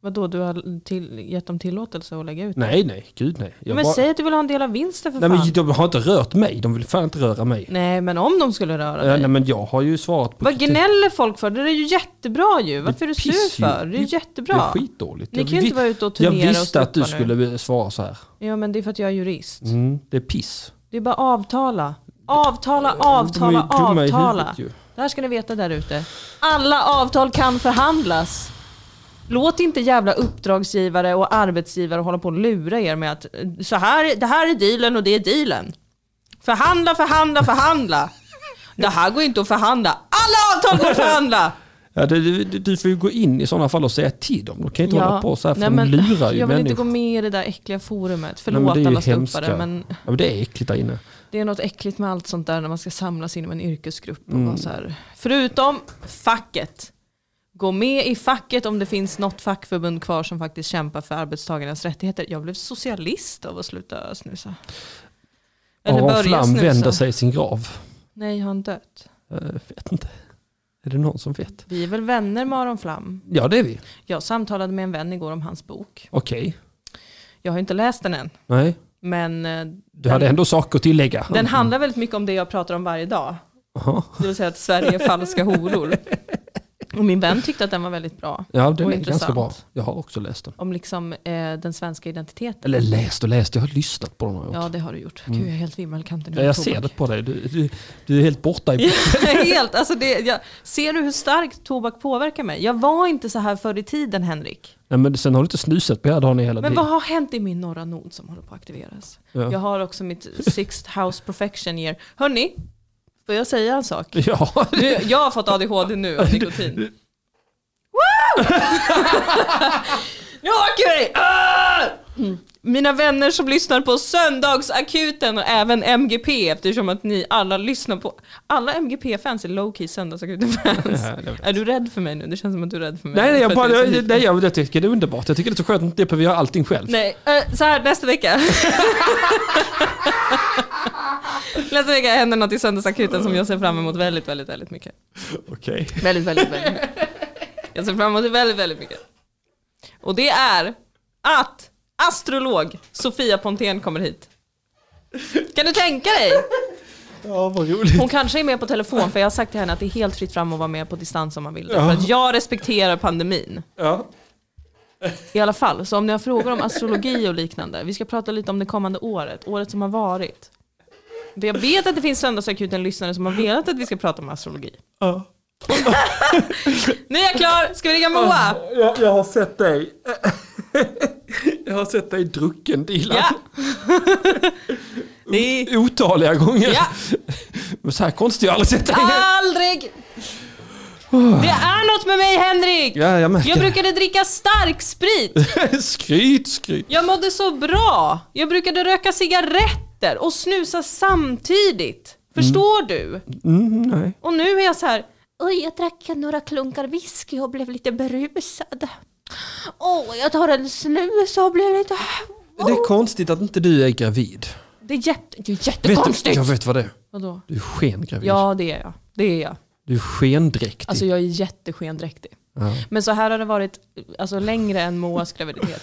B: vadå du har till, gett dem tillåtelse att lägga ut?
A: Nej, nej, gud nej. Jag
B: men
A: bara-
B: säg att du vill ha en del av vinsten för
A: nej
B: fan.
A: men de har inte rört mig, de vill fan inte röra mig.
B: Nej, men om de skulle röra
A: Nej,
B: dig.
A: nej men jag har ju svarat på
B: Vad
A: kritik.
B: gnäller folk för? Det är ju jättebra ju. Varför är du sur
A: typ- piss ju.
B: för? Det är ju
A: Det-
B: jättebra.
A: Det är skitdåligt.
B: Ni
A: Jag
B: kan ju
A: vi-
B: inte vara ute och
A: Jag
B: turnera och
A: visste att du
B: stoppa nu.
A: skulle svara så här.
B: Ja, men det är för att jag är jurist.
A: Mm, det är piss.
B: Det är bara avtala. Avtala, avtala,
A: De är ju dumma i
B: avtala.
A: huvudet ju.
B: Det här ska ni veta där ute. Alla avtal kan förhandlas. Låt inte jävla uppdragsgivare och arbetsgivare hålla på och lura er med att eh, så här, det här är dealen och det är dealen. Förhandla, förhandla, förhandla. Det här går inte att förhandla. Alla avtal går att förhandla!
A: Ja, det, du, du får ju gå in i sådana fall och säga till dem. De kan ju inte hålla på så här för de lurar ju
B: jag vill inte
A: människor.
B: gå med i det där äckliga forumet.
A: Nej, men
B: Förlåt
A: det är ju
B: alla
A: hemska.
B: ståuppare men
A: Ja, men det är äckligt där inne.
B: Det är något äckligt med allt sånt där när man ska samlas inom en yrkesgrupp.
A: Mm.
B: Och vara så här. Förutom facket. Gå med i facket om det finns något fackförbund kvar som faktiskt kämpar för arbetstagarnas rättigheter. Jag blev socialist av att sluta snusa. Eller
A: Aron
B: börja
A: Flam
B: snusa.
A: vänder sig i sin grav.
B: Nej, har han dött?
A: Jag vet inte. Är det någon som vet?
B: Vi är väl vänner med Aron Flam?
A: Ja, det är vi.
B: Jag samtalade med en vän igår om hans bok.
A: Okej.
B: Jag har inte läst den än,
A: Nej,
B: men eh,
A: du hade
B: den,
A: ändå saker att tillägga.
B: den handlar väldigt mycket om det jag pratar om varje dag.
A: Jaha.
B: Det vill säga att Sverige är falska horor. Och min vän tyckte att den var väldigt bra.
A: Ja, den
B: Och
A: är ganska
B: intressant.
A: bra. Jag har också läst den.
B: om liksom, eh, den svenska identiteten.
A: Eller läst och läst, jag har lyssnat på den. Här också.
B: Ja, det har du gjort. Gud, jag är helt vimmelkantig nu.
A: Ja, jag ser det på dig. Du, du, du är helt borta i...
B: (laughs) helt, alltså det, jag, ser du hur starkt tobak påverkar mig? Jag var inte så här förr i tiden, Henrik.
A: Nej, men sen har du inte snusat på hela dagen i hela
B: Men
A: ditt-
B: vad har hänt i min norra nod som håller på att aktiveras?
A: Ja.
B: Jag har också mitt sixth house perfection year. Hörni, får jag säga
A: (laughs)
B: en sak?
A: (laughs) Ja,
B: Nu, jag har fått ADHD nu
A: (laughs)
B: av nikotin. Woo! nu åker jag dig! Ah! Mm. Mina vänner som lyssnar på Söndagsakuten och även MGP eftersom att ni alla lyssnar på... Alla MGP-fans är low-key Söndagsakuten-fans.
A: Ja, det vet
B: är du rädd för mig nu? Det känns som att du är rädd för mig.
A: Nej, nej, jag,
B: För
A: bara,
B: att är så
A: jag,
B: liten.
A: nej jag, jag tycker det är underbart. Jag tycker det är så skönt att inte behöver göra allting själv.
B: Nej, eh, så här nästa vecka. (laughs) Nästa vecka händer något i Söndagsakuten som jag ser fram emot väldigt, väldigt, väldigt mycket.
A: Okej.
B: Väldigt, väldigt, väldigt mycket. (laughs) Jag ser fram emot det väldigt, väldigt mycket. Och det är att astrolog Sofia Pontén kommer hit. Kan du tänka dig?
A: Ja, vad roligt.
B: Hon kanske är med på telefon för jag har sagt till henne att det är helt fritt fram att vara med på distans om man vill. För att jag respekterar pandemin.
A: Ja.
B: I alla fall, så om ni har frågor om astrologi och liknande, vi ska prata lite om det kommande året, året som har varit. För jag vet att det finns Söndagsakuten-lyssnare som har velat att vi ska prata om astrologi.
A: Ja.
B: Nu är jag klar, ska vi ringa Moa?
A: Jag, jag har sett dig. (laughs) Jag har sett dig drucken Dilan.
B: Ja! Det är
A: Otaliga gånger.
B: Ja. Ah.
A: Men så här konstigt har jag aldrig sett dig.
B: aldrig... Det är något med mig Henrik!
A: Ja, jag märker
B: Jag brukade dricka stark sprit.
A: det. (laughs) Skryt, skryt.
B: Jag mådde så bra. Jag brukade röka cigaretter och snusa samtidigt. Förstår du?
A: Mm, nej.
B: Och nu är jag så här,
C: Oj, jag drack några klunkar whisky och blev lite berusad. Åh, jag tar en snus och blir lite...
A: Det är konstigt att inte du är gravid.
B: det är, jätte, Oh. det är
A: Vet du,
B: jättekonstigt.
A: jag vet vad det är.
B: Vadå?
A: Du är skengravid.
B: Ja det är jag. Det är jag.
A: Du är skendräktig.
B: Alltså jag är jätteskendräktig.
A: Ja.
B: Men så här har det varit alltså, längre än Moas graviditet.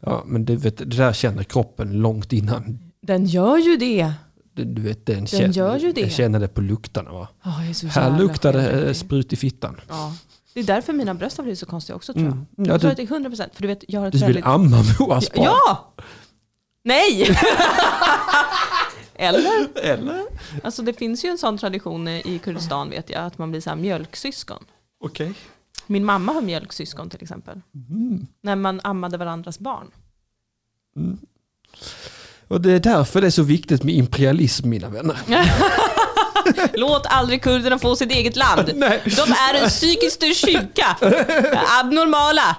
A: Ja, men du vet, det där känner kroppen långt innan.
B: Den gör ju det.
A: Du- Du vet, den, känner,
B: gör ju det.
A: den känner det på luktarna va?
B: Oh, jag är så
A: Här
B: jävla
A: luktar det eh,
B: skendräktig.
A: sprut i fittan.
B: Ja. Det är därför mina bröst har blivit så konstiga också tror jag.
A: Mm. Ja,
B: Jag tror
A: du-
B: att det är 100% för du vet jag har ett
A: Du vill
B: väldigt...
A: amma Moas barn?
B: Ja! Nej! (laughs) Eller?
A: Eller?
B: Alltså det finns ju en sån tradition i Kurdistan vet jag, att man blir så här mjölksyskon.
A: Okej.
B: Min mamma har mjölksyskon till exempel.
A: Mm.
B: När man ammade varandras barn.
A: Och det är därför det är så viktigt med imperialism mina vänner.
B: Låt aldrig kurderna få sitt eget land.
A: (laughs) (laughs) Nej.
B: De är en psykiskt sjuka. Abnormala.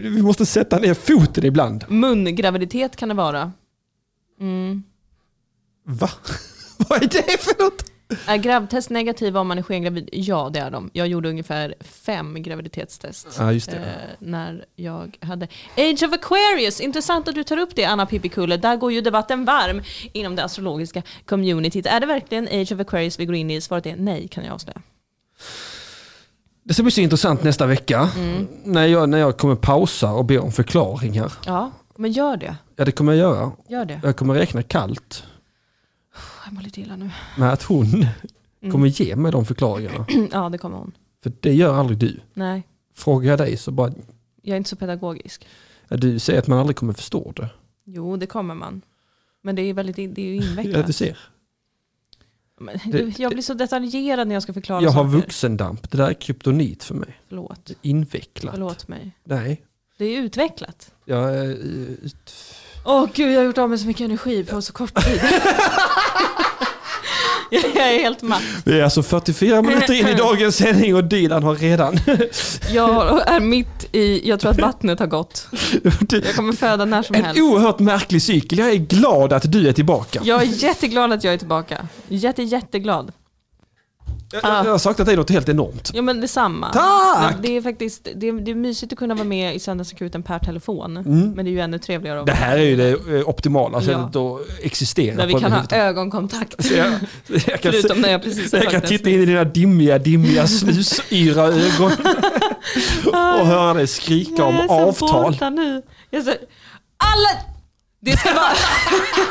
A: Vi måste sätta ner foten ibland.
B: Mungraviditet kan det vara. Mm.
A: Va? (laughs) Vad är det för något?
B: Är gravtest negativa om man är skengravid? Ja, det är de. Jag gjorde ungefär fem graviditetstest.
A: Ja, just det.
B: Eh, när jag hade Age of Aquarius, intressant att du tar upp det Anna Pippikulle. Där går ju debatten varm inom det astrologiska communityt. Är det verkligen Age of Aquarius vi går in i? Svaret är nej kan jag avslöja.
A: Det ska bli så intressant nästa vecka.
B: Mm.
A: När, jag, när jag kommer pausa och be om förklaringar.
B: Ja, men gör det.
A: Ja, det kommer jag göra.
B: Gör det.
A: Jag kommer räkna kallt
B: Jag mår lite illa nu. (clears throat)
A: med att hon
B: Mm.
A: kommer ge mig de förklaringarna.
B: ja, det kommer hon.
A: För det gör aldrig du.
B: Nej,
A: Frågar jag dig så bara,
B: jag är inte så pedagogisk.
A: ja, du säger att man aldrig kommer förstå det.
B: Jo, det kommer man. Men det är, väldigt,
A: (laughs)
B: det är ju
A: Ja, du
B: invecklat.
A: ser.
B: Men du, Jag blir så detaljerad när jag ska förklara
A: Jag har
B: saker.
A: vuxendamp, det där är kryptonit för mig.
B: Förlåt.
A: Invecklat.
B: Förlåt mig.
A: Nej,
B: Det är utvecklat.
A: jag är eh, ut-
B: Åh gud, jag har gjort av med så mycket energi på så kort tid. (laughs) jag är helt matt.
A: Vi är alltså 44 minuter in i dagens sändning och Dilan har redan...
B: Jag är mitt i, jag tror att vattnet har gått. Jag kommer föda när
A: (laughs)
B: som
A: En
B: helst.
A: oerhört märklig cykel. Jag är glad att du är tillbaka.
B: Jag är jätteglad att jag är tillbaka. Jätte, jätteglad.
A: Jag, jag, jag har sagt att det är något helt enormt.
B: Ja men detsamma.
A: Tack!
B: Det är faktiskt, det är, det är mysigt att kunna vara med i Söndagsakuten per telefon.
A: Mm.
B: Men det är ju ännu trevligare att
A: Det här är ju det eh, optimala
B: Ja.
A: sättet att existera
B: där vi
A: på
B: kan
A: (laughs)
B: ha
A: överhuvudtaget.
B: ögonkontakt.
A: jag, jag kan,
B: Förutom
A: se-
B: när jag precis
A: (laughs)
B: har
A: jag kan
B: sagt det.
A: titta in i dina dimmiga, dimmiga snusyra
B: (laughs)
A: ögon och höra dig skrika
B: Jag
A: om
B: är Ah. så
A: avtal.
B: borta Nu. Jag är så, alla... Det ska vara...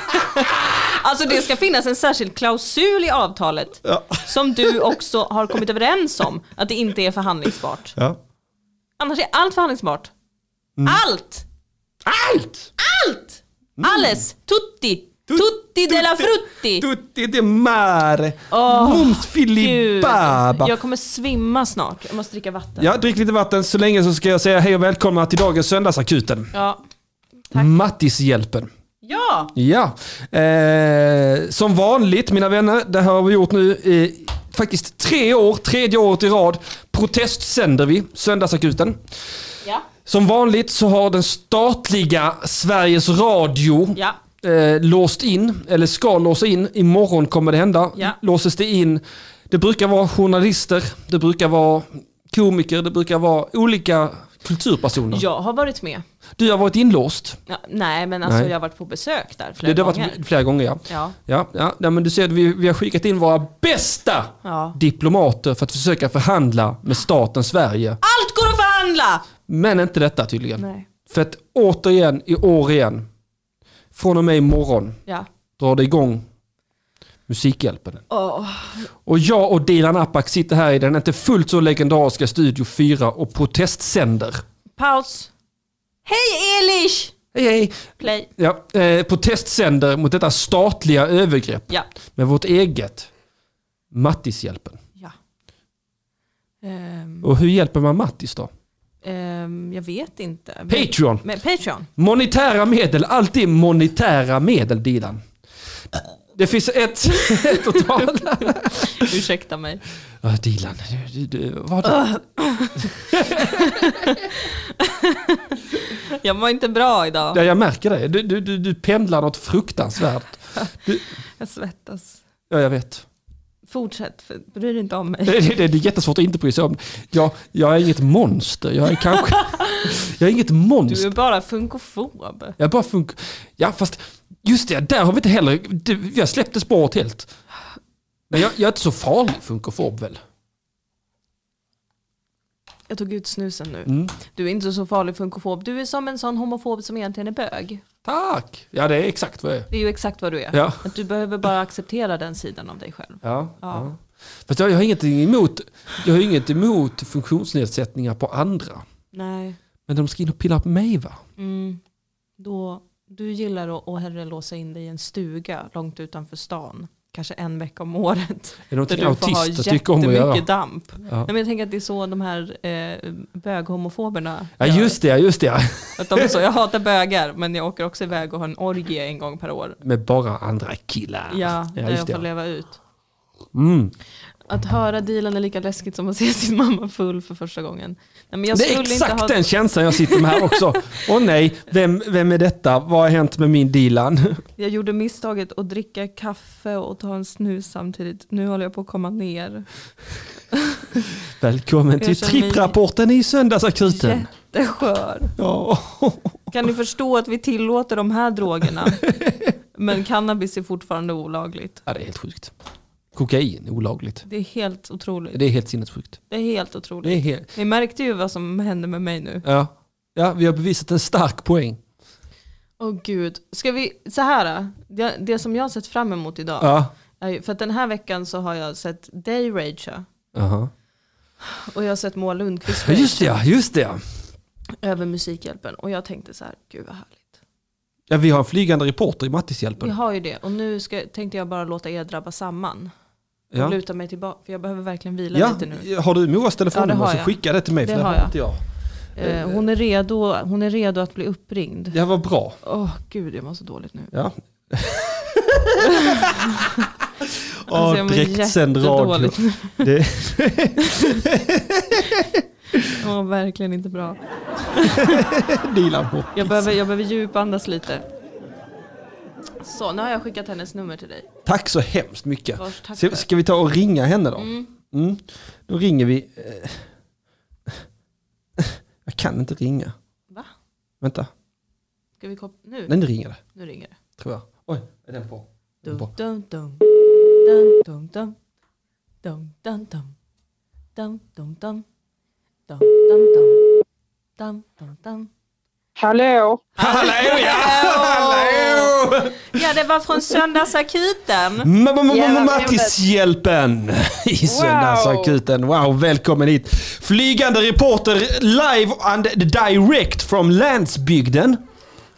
B: (laughs) alltså det ska finnas en särskild klausul i avtalet
A: Ja.
B: som du också har kommit överens om att det inte är förhandlingsbart.
A: Ja.
B: Annars är allt förhandlingsbart.
A: Mm.
B: Allt!
A: Allt!
B: Allt!
A: Mm.
B: Alles! Tutti! Tutti della frutti!
A: Tutti de mare,
B: Åh,
A: mums
B: Gud,
A: filibaba.
B: jag kommer svimma snart. Jag måste dricka vatten.
A: Ja, drick lite vatten så länge så ska jag säga hej och välkomna till dagens söndagsakuten.
B: Ja.
A: Mattishjälpen.
B: ja.
A: Ja, eh, som vanligt mina vänner, det här har vi gjort nu i faktiskt tre år, tredje året i rad. Protestsänder vi, Söndagsakuten.
B: Ja.
A: Som vanligt så har den statliga Sveriges Radio
B: Ja.
A: eh, låst in, eller ska låsa in. Imorgon kommer det hända.
B: Ja.
A: Låses det in. Det brukar vara journalister, det brukar vara komiker, det brukar vara olika kulturpersoner.
B: Jag har varit med.
A: Du har varit inlåst.
B: Ja, nej, men alltså
A: Nej.
B: jag har varit på besök där
A: Det,
B: flera
A: det har
B: gånger.
A: varit flera gånger ja.
B: Ja.
A: Ja, ja. Nej, men du ser, att vi, vi har skickat in våra bästa
B: Ja.
A: diplomater för att försöka förhandla med staten Sverige.
B: Allt går att förhandla!
A: Men inte detta tydligen.
B: Nej.
A: För att återigen, i år igen, från och med imorgon
B: Ja.
A: drar det igång Musikhjälpen.
B: Åh.
A: Och jag och Dilan Apak sitter här i den inte fullt så legendariska Studio 4 och protestsänder.
B: Paus. Hej Elish!
A: Hej hej!
B: Play.
A: Ja, eh, protestsänder mot detta statliga övergrepp
B: Ja.
A: med vårt eget Mattishjälpen.
B: ja. Ehm,
A: Och hur hjälper man Mattis då?
B: ehm, jag vet inte. Men-
A: Patreon!
B: Men Patreon.
A: Monetära medel, alltid monetära medel Dilan. Det finns ett (laughs) totalt...
B: Ursäkta mig.
A: Ja, Dilan, du, du, du, vad har du?
B: Jag mår inte bra idag.
A: Ja, jag märker det. Du, du, du, du pendlar något fruktansvärt.
B: Jag svettas.
A: Ja, jag vet.
B: Fortsätt, för bry dig inte om mig.
A: Det, det, det är jättesvårt att inte bry sig om. Jag, jag är inget monster. Jag är
B: (laughs)
A: kanske... Jag är inget
B: Du
A: monster.
B: är bara funkofob.
A: Jag bara funkar... Ja, fast just det, där har vi inte heller... det- Jag släppte spåret helt. Men jag, jag är inte så farlig funkofob väl?
B: Jag tog ut snusen nu.
A: Mm.
B: Du är inte så farlig funkofob. Du är som en sån homofob som egentligen är bög.
A: Tack! Ja, det är exakt vad jag är.
B: Det är ju exakt vad du är.
A: Ja.
B: Att du behöver bara acceptera den sidan av dig själv.
A: Ja, ja.
B: Ja.
A: Fast jag, jag har ingenting emot, jag har inget emot funktionsnedsättningar på andra.
B: Nej,
A: Men de ska in och pilla på mig va?
B: mm. då, du gillar att, att hellre låsa in dig i en stuga långt utanför stan. Kanske en vecka om året.
A: Är det
B: Där
A: någonting
B: du får ha
A: autister tycker om att göra?
B: jättemycket damp.
A: Ja.
B: Nej, men jag tänker att det är så de här eh, böghomofoberna
A: Ja
B: gör.
A: just det, ja, just det. (laughs) ja.
B: Att de är så, jag hatar bögar men jag åker också iväg och har en orgie en gång per år.
A: Med bara andra killar.
B: Ja, där
A: just
B: jag får
A: det.
B: leva ut.
A: Mm.
B: Att höra Dilan är lika läskigt som att se sin mamma full för första gången. Nej, men jag
A: Det är
B: skulle
A: exakt
B: inte ha...
A: den känslan jag sitter med här
B: (laughs)
A: också. Åh nej, vem, vem är detta? Vad har hänt med min Dilan?
B: Jag gjorde misstaget att dricka kaffe och ta en snus samtidigt. Nu håller jag på att komma ner.
A: (laughs) Välkommen till
B: Jag känner mig-
A: tripprapporten i Söndagsakuten.
B: Jätteskör.
A: Ja. (laughs)
B: Kan ni förstå att vi tillåter de här drogerna? Men cannabis är fortfarande olagligt.
A: ja, det är helt sjukt. Kokain, olagligt.
B: Det är helt otroligt.
A: Det är helt sinnessjukt.
B: Det är helt
A: Det är
B: otroligt.
A: helt...
B: Ni märkte ju vad som hände med mig nu.
A: Ja. ja, vi har bevisat en stark poäng.
B: Åh gud. Ska vi, så här. då. Det, det som jag har sett fram emot idag.
A: Ja.
B: är ju- För att den här veckan så har jag sett dig ragea.
A: Aha.
B: Och jag har sett Moa Lundqvist
A: Ja,
B: ragea
A: Just det, ja, just det. ja.
B: över Musikhjälpen. Och jag tänkte så här, gud vad härligt.
A: Ja, vi har en flygande reporter i
B: Vi
A: Mattishjälpen.
B: har ju det. Och nu ska, tänkte jag bara låta er drabba samman. Och
A: Ja.
B: luta mig tillbaka, för jag behöver verkligen vila
A: Ja.
B: lite nu.
A: Har du Moas
B: Ja, det
A: telefonnummer
B: har
A: så
B: jag.
A: skicka det till mig. För
B: Det
A: det
B: har
A: har
B: jag.
A: inte jag.
B: Eh, hon, är redo, hon är redo att bli uppringd.
A: Det här var bra.
B: Åh gud, jag mår så dåligt nu.
A: Ja.
B: Alltså, jag mår jättedåligt. (laughs)
A: Det,
B: Jag mår verkligen inte bra.
A: Dilan på.
B: Jag behöver, jag behöver djupandas lite. Så, nu har jag skickat hennes nummer till dig.
A: Tack så hemskt mycket.
B: Vars, tack
A: Så,
B: för.
A: ska vi ta och ringa henne då? Mm. Då ringer vi. eh, (laughs) Jag kan inte ringa.
B: Va?
A: Vänta,
B: Ska vi koppla? Nu?
A: den ringer det.
B: Nu ringer det.
A: Tror jag. Oj, är den på?
B: Dum,
A: Bra.
B: dum, dum. Dum, dum, dum. Dum, dum, dum. Dum, dum, dum. Dum, dum, dum. Dum, dum, dum.
D: Hallå!
A: Hallå ja!
B: (laughs)
A: Hallå!
B: Ja, det var från Söndagsakuten.
A: Ma- ma- ma- ma-
D: Jävla
A: Mattishjälpen (laughs) i Söndagsakuten. Wow, välkommen hit. Flygande reporter live and direct from landsbygden.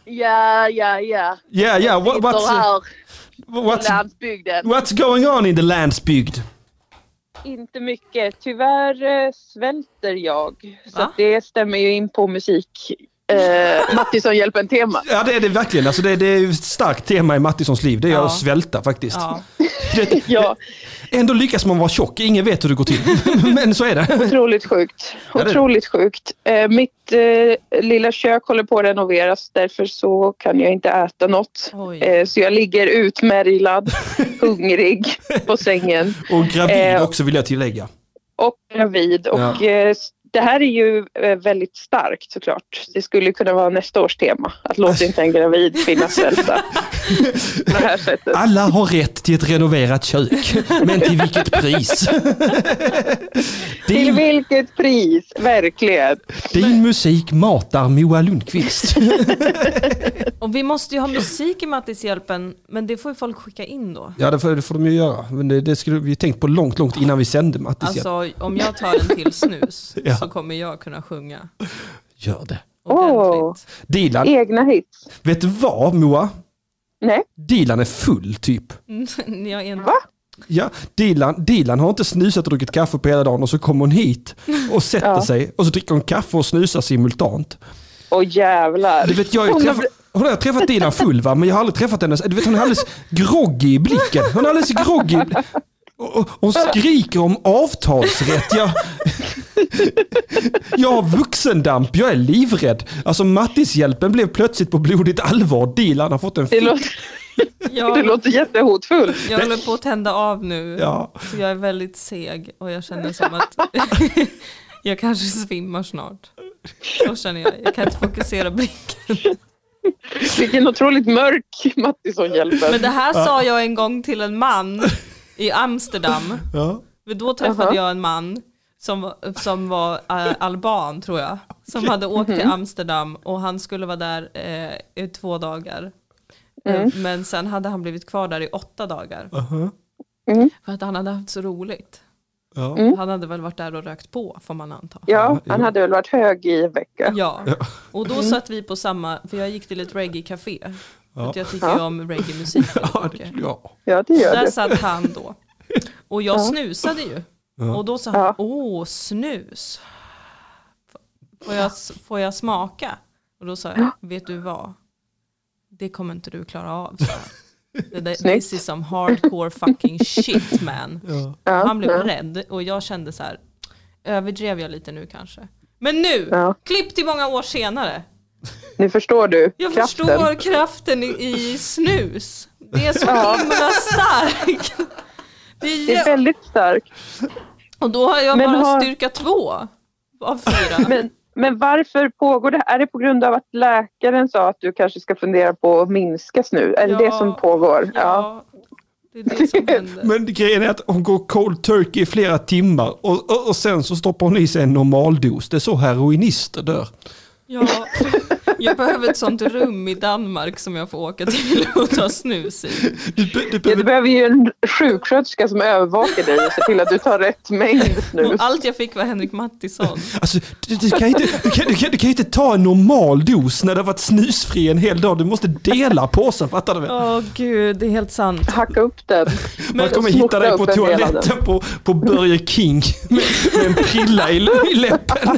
D: Ja, ja, ja.
A: Yeah, yeah. What,
D: Sitter
A: what's,
D: här på
A: what's,
D: landsbygden.
A: what's going on in the landsbygd?
D: Inte mycket. Tyvärr eh, svälter jag. Så
B: Va?
D: att det stämmer ju in på musik. (laughs) Eh, Mattisson hjälper en tema.
A: Ja, det är det verkligen. Alltså, det, det är ett starkt tema i Mattissons liv. Det är
B: Ja.
A: att svälta faktiskt.
B: Ja,
A: Det,
D: Ja,
A: ändå lyckas man vara tjock. Ingen vet hur det går till. (laughs) Men så är det.
D: otroligt sjukt.
A: Ja, det-
D: Otroligt sjukt. Eh, mitt eh, lilla kök håller på att renoveras. Därför så kan jag inte äta något.
B: Oj.
D: Eh, så jag ligger utmärglad, (laughs) hungrig på sängen.
A: Och gravid
D: Eh.
A: också vill jag tillägga.
D: och gravid och
A: Ja.
D: eh, s- det här är ju eh, väldigt starkt såklart. Det skulle ju kunna vara nästa års tema. Att låta inte en gravid kvinna svälta. På det här sättet.
A: Alla har rätt till ett renoverat kök, men till vilket pris?
D: Till
A: Din,
D: vilket pris, verkligen.
A: din musik matar Moa Lundqvist.
B: Och vi måste ju ha musik i Mattishjälpen, men det får ju folk skicka in då.
A: (laughs) Ja, det får, det får de ju göra. Men det, det skulle vi ju tänkt på långt, långt innan vi sände Mattis. Alltså.
B: Alltså om jag tar en till snus
A: (laughs) Ja.
B: så kommer jag kunna sjunga
A: Gör det.
B: ordentligt. (laughs)
A: Dilan,
D: Egna hits.
A: vet du vad Moa?
D: Nej,
A: Dilan är full typ.
B: Mm, jag är en...
D: va?
A: Ja, Dilan, Dilan har inte snusat och druckit kaffe på hela dagen och så kommer hon hit och sätter
D: Ja.
A: sig och så dricker hon kaffe och snusar simultant.
D: Åh jävlar.
A: Du vet, jag har ju
D: Hon har
A: träffat, hon har jag träffat Dilan full va, men jag har aldrig träffat henne. Du vet, hon är alldeles groggy i blicken. Hon är alldeles groggy. i bl- Och, och, hon skriker om avtalsrätt. Jag, jag har vuxendamp, jag är livrädd. Alltså Mattishjälpen blev plötsligt på blodigt allvar. Dilan har fått en
D: Det
A: fin...
D: låter, det
B: Jag,
D: låter jättehotfullt.
B: jag håller på att tända av nu.
A: Ja.
B: Så jag är väldigt seg och jag känner som att (laughs) jag kanske svimmar snart. Så känner jag. Jag kan inte fokusera blicken.
D: Vilken otroligt mörk Mattisson hjälper.
B: Men det här sa jag en gång till en man i Amsterdam.
A: Ja.
B: För Då träffade
D: Aha.
B: jag en man som, som var eh, alban tror jag. Som hade åkt till Amsterdam och han skulle vara där eh, i två dagar. Eh, Men sen hade han blivit kvar där i åtta dagar.
A: Aha.
B: För att han hade haft så roligt.
A: Ja.
D: Mm.
B: Han hade väl varit där och rökt på får man anta.
D: Ja, han hade väl varit hög i en vecka.
B: Ja, och då satt vi på samma, för jag gick till ett reggae-café. För att jag tycker ju om reggae-musik
A: (laughs) Ja,
B: väldigt
A: det,
B: mycket.
A: ja.
D: Ja, det gör
B: Där
D: det.
B: satt han då. Och jag snusade ju. Och då sa han,
D: Ja.
B: åh snus. Får jag, får jag smaka? Och då sa jag, vet du vad? Det kommer inte du klara av. sa
D: (laughs)
B: jag. Det där, this
D: Snyggt.
B: is some hardcore fucking shit man.
D: Ja,
B: Han blev
D: ja.
B: rädd och jag kände så här, överdrev jag lite nu kanske? Men nu,
D: Ja.
B: klipp till många år senare.
D: Nu förstår du
B: Jag
D: kraften.
B: förstår kraften i, i snus. Det är så himla starkt. Det är,
D: Det är
B: jä-
D: väldigt starkt.
B: och då har jag
D: Men
B: bara
D: har-
B: styrka två av fyra.
D: Men, men varför pågår det här? Är det på grund av att läkaren sa att du kanske ska fundera på att minska snus? Är det
B: Ja.
D: det som pågår? Ja.
B: Ja, det är det som händer.
A: Men grejen är att hon går cold turkey i flera timmar och, och, och sen så stoppar hon i sig en normaldos. Det är så heroinister dör.
B: Ja, jag behöver ett sånt rum i Danmark som jag får åka till och ta snus i.
A: Du, be- du
D: Ja, du
A: behöver,
D: behöver ju en sjuksköterska som övervakar dig och ser till att du tar rätt mängd
B: (laughs) Och
D: snus.
B: allt jag fick var Henrik Mattisson.
A: alltså, du, du, kan inte, du, kan, du, kan, du kan inte ta en normal dos när det har varit snusfri en hel dag. Du måste dela påsen, fattar du väl?
B: Åh gud, det är helt sant.
D: Hacka upp den.
A: Man kommer
D: Snoka
A: hitta dig på
D: upp en del av den.
A: toaletten på, på Burger King med, med en prilla i, i läppen.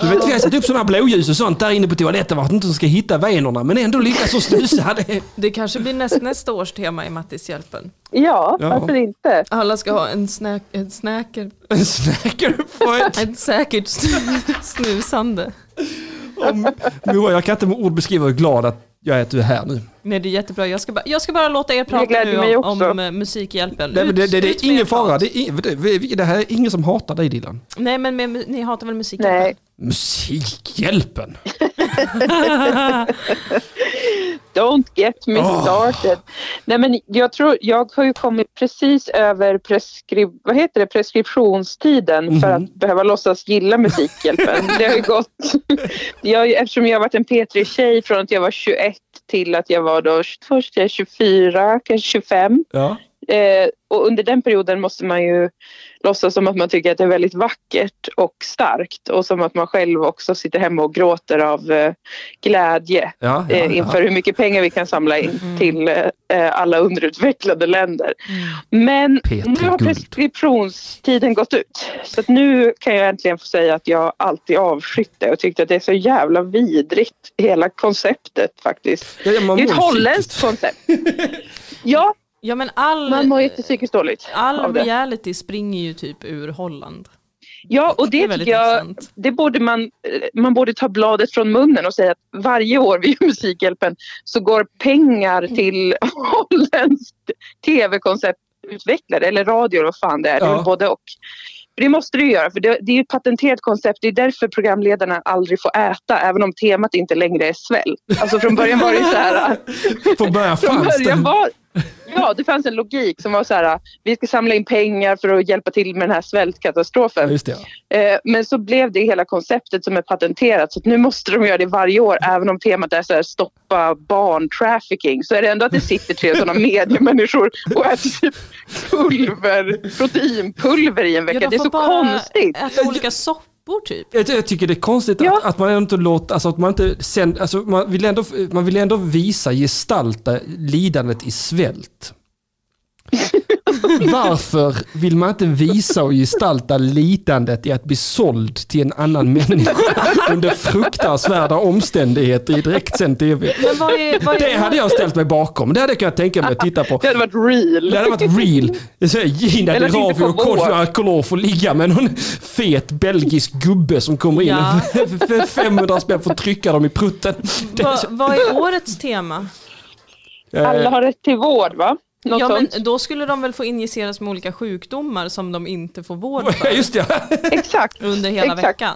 A: Du vet, vi har satt upp sådana blåljus och sånt där inne på toaletten vart inte ska hitta venerna men ändå lyckas hon snusa. Det är-
B: Det kanske blir näst, nästa års tema i Mattishjälpen.
D: Ja,
A: Ja.
D: varför inte?
B: Alla ska ha en, snack, en snacker
A: En snacker på ett
B: Ett säkert snu- snusande.
A: Om- Moa, jag kan inte med ord beskriva hur glad att jag är att du är här nu.
B: Nej det är jättebra, jag ska bara, jag ska bara låta er prata
D: gläder
B: nu
D: mig
B: om,
D: också.
B: om eh, Musikhjälpen.
A: Nej, men det, det, det
B: Ut
A: är
B: med er
A: ingen fara,
B: prat.
A: det, är, ing- det, vi- det här är ingen som hatar dig Dilan.
B: Nej men med, ni hatar väl Musikhjälpen?
D: Nej,
A: Musikhjälpen!
D: don't get me
A: Åh.
D: started. Nej, men jag, tror, jag har ju kommit precis över preskri- vad heter det? preskriptionstiden för
A: Mhm.
D: att behöva låtsas gilla Musikhjälpen. det har ju gått. (laughs) Jag, eftersom jag har varit en P3-tjej från att jag var 21 till att jag var då först är jag 24, kanske 25.
A: Ja.
D: Eh, och under den perioden måste man ju låtsas som att man tycker att det är väldigt vackert och starkt och som att man själv också sitter hemma och gråter av eh, glädje
A: Ja, ja,
D: eh, inför hur mycket pengar vi kan samla in
B: Mm.
D: till eh, alla underutvecklade länder.
B: Mm.
D: Men
A: Peter
D: nu har
A: Guld.
D: preskriptionstiden gått ut. Så att nu kan jag äntligen få säga att jag alltid avskytt det och tyckte att det är så jävla vidrigt, hela konceptet faktiskt.
A: ja. ja, man
D: Det är
A: mår
D: ett holländskt
A: psykiskt.
B: (laughs)
D: koncept. Ja,
B: Ja men all,
D: man mår ju inte psykiskt dåligt av
B: all
D: det.
B: reality springer ju typ ur Holland.
D: Ja, och
B: Det
D: det,
B: är väldigt
D: tycker jag,
B: intressant.
D: det borde man, eh, man borde ta bladet från munnen och säga att varje år vid (laughs) Musikhjälpen så går pengar
A: Mm.
D: till (laughs) holländskt tv-konceptutvecklare eller radio eller vad fan det är, det är
A: Ja.
D: väl både och. För det måste du göra, för det, det är ju ett patenterat koncept. Det är därför programledarna aldrig får äta, även om temat inte längre är svält. Alltså från början var det ju
A: (laughs)
D: så här...
A: Från början
D: Från
A: fanns
D: början
A: det.
D: var, ja, det fanns en logik som var så här, vi ska samla in pengar för att hjälpa till med den här svältkatastrofen.
A: Just det.
D: Eh, Men så blev det hela konceptet som är patenterat så att nu måste de göra det varje år även om temat är så här, stoppa barntrafficking så är det ändå att det sitter tre (laughs) sådana mediemänniskor och äter typ pulver, proteinpulver i en vecka.
B: Ja, de
D: det är
B: får
D: så
B: bara
D: konstigt.
B: Äta olika soppor typ.
A: Jag, jag tycker det är konstigt
D: Ja.
A: att, att man ändå inte låter, alltså att man inte sen, alltså man vill ändå, man vill ändå visa, gestalta lidandet i svält. Varför vill man inte visa och gestalta lidandet i att bli såld till en annan människa under fruktansvärda omständigheter i direktsänd tv?
B: Men vad är, vad är,
A: Det hade jag ställt mig bakom, det hade jag kunnat tänka mig att titta på.
D: Det hade varit real.
A: Det hade varit real. Det är så här, Gina
D: Eller titta
A: Dirawi
D: på
A: och Kodjo
D: vår.
A: Akolor får ligga med någon fet belgisk gubbe som kommer in
B: Ja.
A: (laughs) för 500 spänn för att trycka dem i prutten. Det är
B: vad,
A: så-
B: vad är årets tema?
D: Alla
A: eh,
D: har rätt till vård va? Något
B: Ja
D: sånt.
B: men då skulle de väl få injiceras med olika sjukdomar som de inte
A: (laughs)
B: får vård för
A: Eh, Just det,
D: Exakt.
B: under hela
D: Exakt.
B: veckan.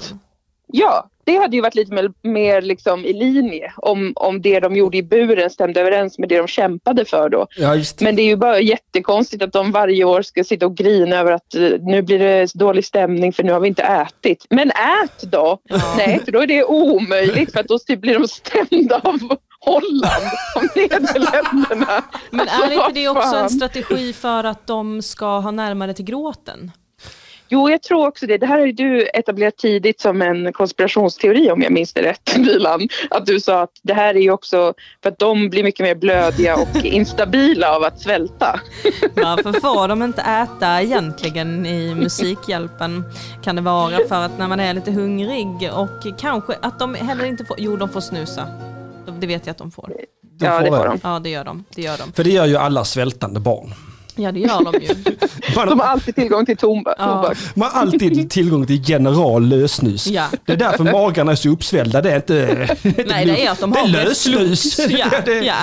D: Ja, det hade ju varit lite mer, mer liksom i linje om, om det de gjorde i buren stämde överens med det de kämpade för då.
A: ja, just det.
D: Men det är ju bara jättekonstigt att de varje år ska sitta och grina över att eh, nu blir det dålig stämning för nu har vi inte ätit. Men ät då! Nej, för då är det omöjligt för att då typ blir de stämda av Holland, av Nederländerna.
B: Men är
D: Alltså,
B: inte det
D: (laughs) vad
B: också en
D: fan.
B: strategi för att de ska ha närmare till gråten?
D: Jo, jag tror också det. Det här har ju du etablerat tidigt som en konspirationsteori om jag minns det rätt, (laughs) Milan. Att du sa att det här är ju också för att de blir mycket mer blödiga och instabila av att svälta.
B: Varför får de inte äta egentligen i Musikhjälpen? Kan det vara för att när man är lite hungrig och kanske att de heller inte får, jo de får snusa. Det vet jag att de får.
D: ja, det
A: får
D: får
A: jag.
D: de.
B: Ja det gör de, det gör de.
A: För det gör ju alla svältande barn.
B: Ja det gör de ju.
A: Man,
D: De har alltid tillgång till tomba- tobak.
A: man har alltid tillgång till general lösnus.
B: Ja.
A: Det är därför magarna är så uppsvällda. Det är (laughs) inte...
B: Nej det är att de har
A: Det är lösnus. (laughs)
B: reflux. Ja,
A: det,
B: ja.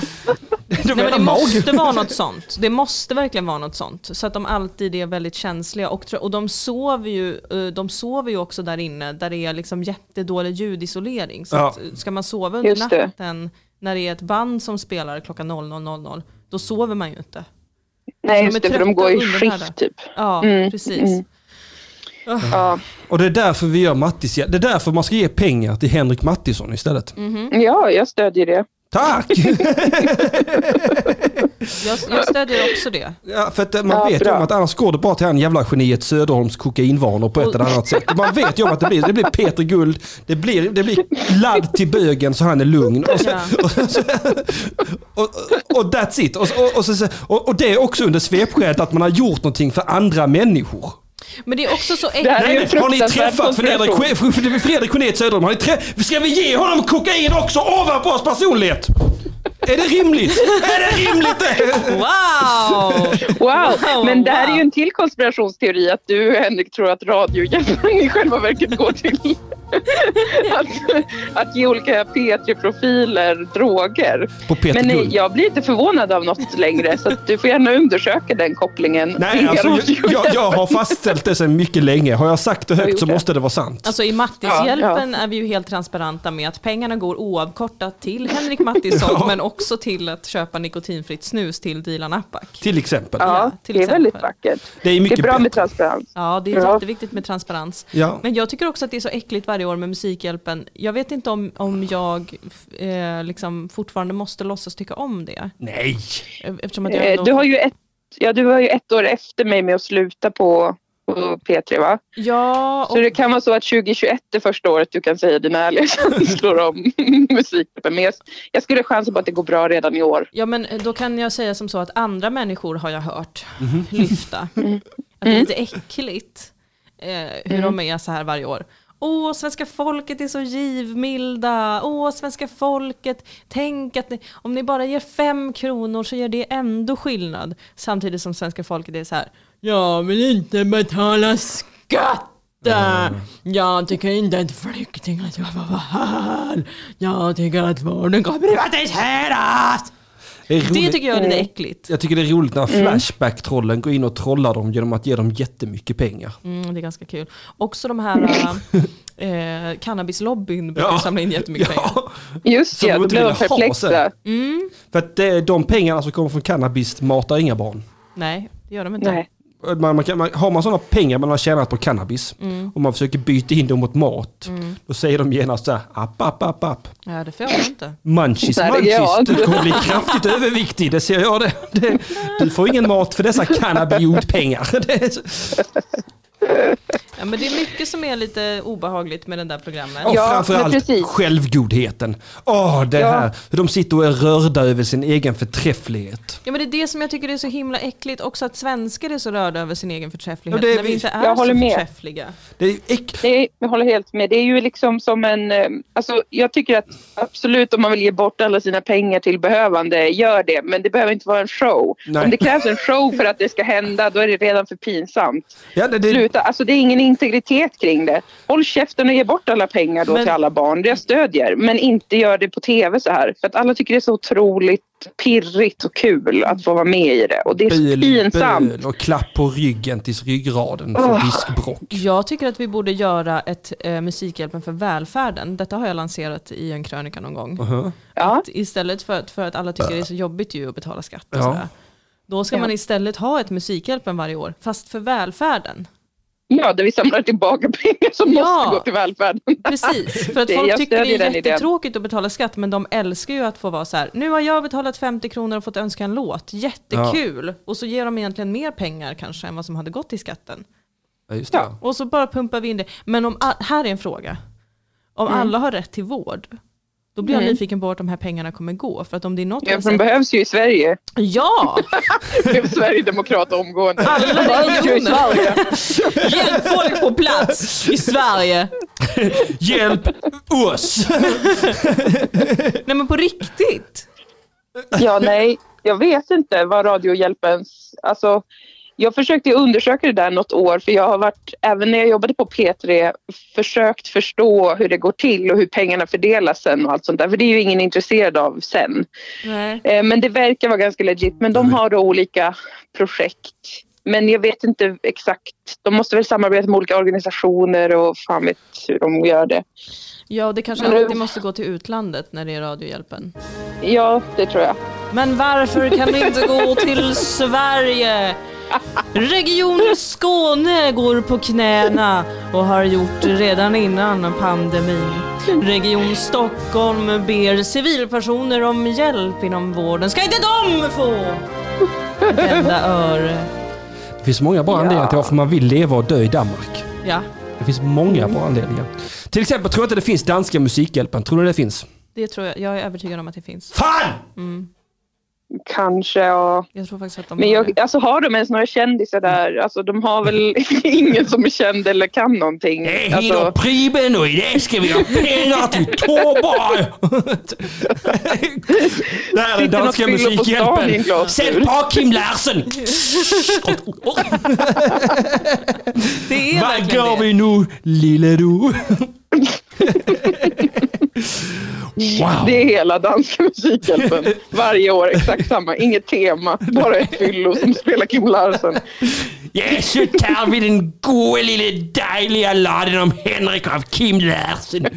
A: De
B: Nej,
A: är
B: men det
A: mag.
B: måste vara något sånt. Det måste verkligen vara något sånt. Så att de alltid är väldigt känsliga. Och, tror- och de, sover ju, eh, de sover ju också där inne där det är liksom jättedålig ljudisolering. Så
A: Ja.
B: att, eh, ska man sova under
D: Just det.
B: natten när det är ett band som spelar klockan 00.00 då sover man ju inte.
D: Nej,
B: de
D: just
B: är
D: det, för de
B: trötta
D: går i
B: och undernärda.
D: skift typ.
B: Ja,
D: Mm,
B: precis.
D: mm. Ja,
A: Och det är därför vi gör Mattis... Det är därför man ska ge pengar till Henrik Mattisson istället.
B: Mm.
D: ja jag stödjer det.
A: Tack!
B: Jag, jag stödjer
A: (laughs)
B: också det.
A: Ja, för att eh, man
D: Ja,
A: vet ju
D: bra.
A: om att annars går det bara till han jävla geniet Söderholms kokainvanor på ett eller annat sätt. Man vet ju om att det blir, det blir Peter Guld, det blir, det blir ladd till bögen så han är lugn. Och, så,
B: Ja.
A: och, så, och, och, och that's it. Och, och, och, så, och, och det är också under svepskälet att man har gjort någonting för andra människor.
B: Men det är också så
D: Det här är
B: äckligt.
D: ju
A: Nej, nej,
D: en
A: har ni
D: fruktansvärd
A: träffat Fredrik,
D: konspiration.
A: Fredrik, Fredrik Geniet Söderholm? Har ni trä- Ska vi ge honom kokain också ovanpå hans personlighet? Är det rimligt? Är det rimligt det?
B: Wow!
D: Wow.
B: (laughs) Wow,
D: Men det här
B: wow.
D: är ju en till konspirationsteori att du Henrik tror att radiohjälpen (laughs) i själva verket går till (laughs) att, att ge olika P3-profiler droger.
A: På Peter
D: Men eh,
A: Guld.
D: jag blir inte förvånad av något längre så att du får gärna undersöka den kopplingen.
A: Nej,
B: (laughs)
D: (laughs) till
A: alltså, jag,
D: radiohjälpen.
A: jag, jag har fastställt det sedan mycket länge. Har jag sagt det
D: Har
A: högt
D: gjort
A: så
D: det.
A: måste det vara sant.
B: Alltså i Mattishjälpen är vi ju helt transparenta med att pengarna går oavkortat till Henrik
D: (laughs)
B: Mattisson
A: Ja.
B: men också till att köpa nikotinfritt snus till Dilan Apak.
A: Till exempel.
D: Ja,
B: till
D: det är
B: exempel.
D: väldigt vackert.
A: Det är mycket
D: det är bra
A: bättre.
D: med transparens.
B: Ja, det är
D: Ja.
B: jätteviktigt med transparens.
A: Ja.
B: Men jag tycker också att det är så äckligt varje år med Musikhjälpen. Jag vet inte om, om jag f- eh, liksom fortfarande måste låtsas tycka om det.
A: Nej!
B: E- Eftersom att jag
D: Eh,
B: ändå...
D: Du, har ju ett, ja, du var ju ett år efter mig med att sluta på, på P3 va?
B: Ja,
D: Så
B: och...
D: det kan vara så att 2021 är första året du kan säga dina ärliga (laughs) känslor om musikgruppen. Men jag, jag skulle chansa på att det går bra redan i år.
B: Ja men eh, då kan jag säga som så att andra människor har jag hört
A: Mhm.
B: lyfta. Att det är lite äckligt eh, hur de är så här varje år. Åh, svenska folket är så givmilda. Åh, svenska folket. Tänk att ni, om ni bara ger fem kronor så gör det ändå skillnad. Samtidigt som svenska folket är så här. Jag vill inte betala skatt. Jag tycker inte att flyktingar ska få vara här. Jag tycker att vården ska privatiseras.
A: Det Mm. är roligt.
B: Det tycker jag Mm. är lite äckligt.
A: Jag tycker det är roligt när Flashback-trollen går in och trollar dem genom att ge dem jättemycket pengar.
B: Mm, det är ganska kul. Också
A: (laughs)
B: de här äh, eh, cannabislobbyn brukar
A: Ja.
B: samla in jättemycket pengar.
A: Ja,
D: Just
A: Som
D: det,
A: de
D: då
A: inte
D: blir de
A: ville ha
D: perplexa.
A: sen. (laughs) För att det är de pengarna som kommer från cannabis matar inga barn.
B: Nej, det gör de inte.
D: Nej.
A: Man, man, kan- man, har man sådana pengar man har tjänat på cannabis
B: Mm.
A: och man försöker byta in dem mot mat, då säger de genast så här, app, app, app, app.
B: Ja, det får de inte.
A: Munchies,
D: Nej, det
A: munchies,
D: gör jag inte.
A: du kommer bli kraftigt överviktig, det ser jag det. det du får ingen mat för dessa cannabiodpengar. Det är så-
B: Ja, men det är mycket som är lite obehagligt med det där programmet.
A: Och
D: Ja, men
A: framförallt
D: precis.
A: självgodheten. Åh, det
D: Ja.
A: här. Hur de sitter och är rörda över sin egen förträfflighet.
B: Ja, men det är det som jag tycker är så himla äckligt också, att svenskar är så rörda över sin egen förträfflighet
A: Ja, det är
B: när vi
A: vi-
B: inte är
D: jag
B: så
D: håller med.
B: förträffliga.
A: Det är ju äck...
D: Det är, jag håller helt med. Det är ju liksom som en... eh, Alltså, jag tycker att absolut om man vill ge bort alla sina pengar till behövande, gör det. Men det behöver inte vara en show.
A: Nej.
D: Om det krävs en show för att det ska hända, då är det redan för pinsamt.
A: Ja, det, det,
D: Sluta. Alltså, det är ingen integritet kring det. Håll käften och ge bort alla pengar då
B: Men-
D: till alla barn. Det jag stödjer. Men inte gör det på tv så här. För att alla tycker det är så otroligt pirrigt och kul att få vara med i det. Och det är så
A: böl,
D: pinsamt.
A: böl och klapp på ryggen tills ryggraden får
D: Åh.
A: diskbråck.
B: Jag tycker att vi borde göra ett eh, Musikhjälpen för välfärden. Detta har jag lanserat i en krönika någon gång.
D: Ja.
B: Att Istället för att, för att alla tycker det är så jobbigt ju att betala skatt och
A: Ja.
B: sådär. Då ska
D: Ja.
B: man istället ha ett Musikhjälpen varje år, fast för välfärden.
D: Ja, där vi samlar tillbaka (laughs) pengar som
B: Ja.
D: måste gå till välfärden.
B: Precis, för att
D: Det-
B: folk
D: jag
B: tycker det
D: stödjer
B: är
D: den idén.
B: jättetråkigt att betala skatt men de älskar ju att få vara så här. nu har jag betalat 50 kronor och fått önska en låt, jättekul! Och så ger de egentligen mer pengar kanske än vad som hade gått till skatten.
A: Ja, just det.
D: Ja.
B: Och så bara pumpar vi in det. Men om, a- här är en fråga, om
D: Mm.
B: alla har rätt till vård, då blir jag nyfiken på vart de här pengarna kommer gå. För att om det är något jag
D: Ja,
B: har
D: för de
B: sett-
D: behövs ju i Sverige.
B: Ja!
D: Blev Sverigedemokrat omgående.
B: Alla
D: De (laughs) behövs ju i
B: religioner.
D: Sverige.
B: Hjälp folk på plats i Sverige!
A: (laughs) Hjälp oss!
B: Nej men på riktigt!
D: Ja, nej. Jag vet inte vad Radiohjälpens... Alltså, jag försökte ju undersöka det där något år för jag har varit, även när jag jobbade på P3, försökt förstå hur det går till och hur pengarna fördelas sen och allt sånt där. För det är ju ingen intresserad av sen.
B: Nej.
D: Eh, Men det verkar vara ganska legit. Men de har då olika projekt. Men jag vet inte exakt. De måste väl samarbeta med olika organisationer och fan vet hur de gör det.
B: Ja, och det kanske
D: Men-
B: alltid måste gå till utlandet när det är Radiohjälpen.
D: Ja, det tror jag.
B: Men varför kan det inte gå till Sverige? Region Skåne går på knäna och har gjort det redan innan pandemin. Region Stockholm ber civilpersoner om hjälp inom vården. Ska inte de få ett enda öre?
A: Det finns många bra
D: Ja.
A: anledningar till varför man vill leva och dö i Danmark.
B: Ja,
A: Det finns många bra anledningar. Till exempel, tror jag inte det finns Danska Musikhjälpen? Tror du det finns?
B: det tror jag. Jag är övertygad om att det finns.
A: Fan!
D: Kanske, ja.
B: Jag tror faktiskt att de
D: Men
B: har det.
D: jag, alltså, har de ens några kändisar där? Alltså, de har väl (laughs) ingen som är känd eller kan någonting?
A: Det är hela
D: Alltså,
A: priben och idag ska vi ha pengar till Torborg! Det här är
D: Sitter något
A: danska
D: fyllo på stan i en
A: musikhjälpen.
D: glasur.
A: Sätt på Kim Larsen!
B: Det är
A: Vad
B: verkligen
A: gör
B: det.
A: vi nu, lille du? Wow!
D: Det är hela
A: (laughs)
D: Danska Musikhjälpen. Varje år exakt samma. Inget tema. Bara ett fyllo som spelar Kim Larsen.
A: Ja, så tar vi den gode lille dejliga laden om Henrik av Kim Larsen.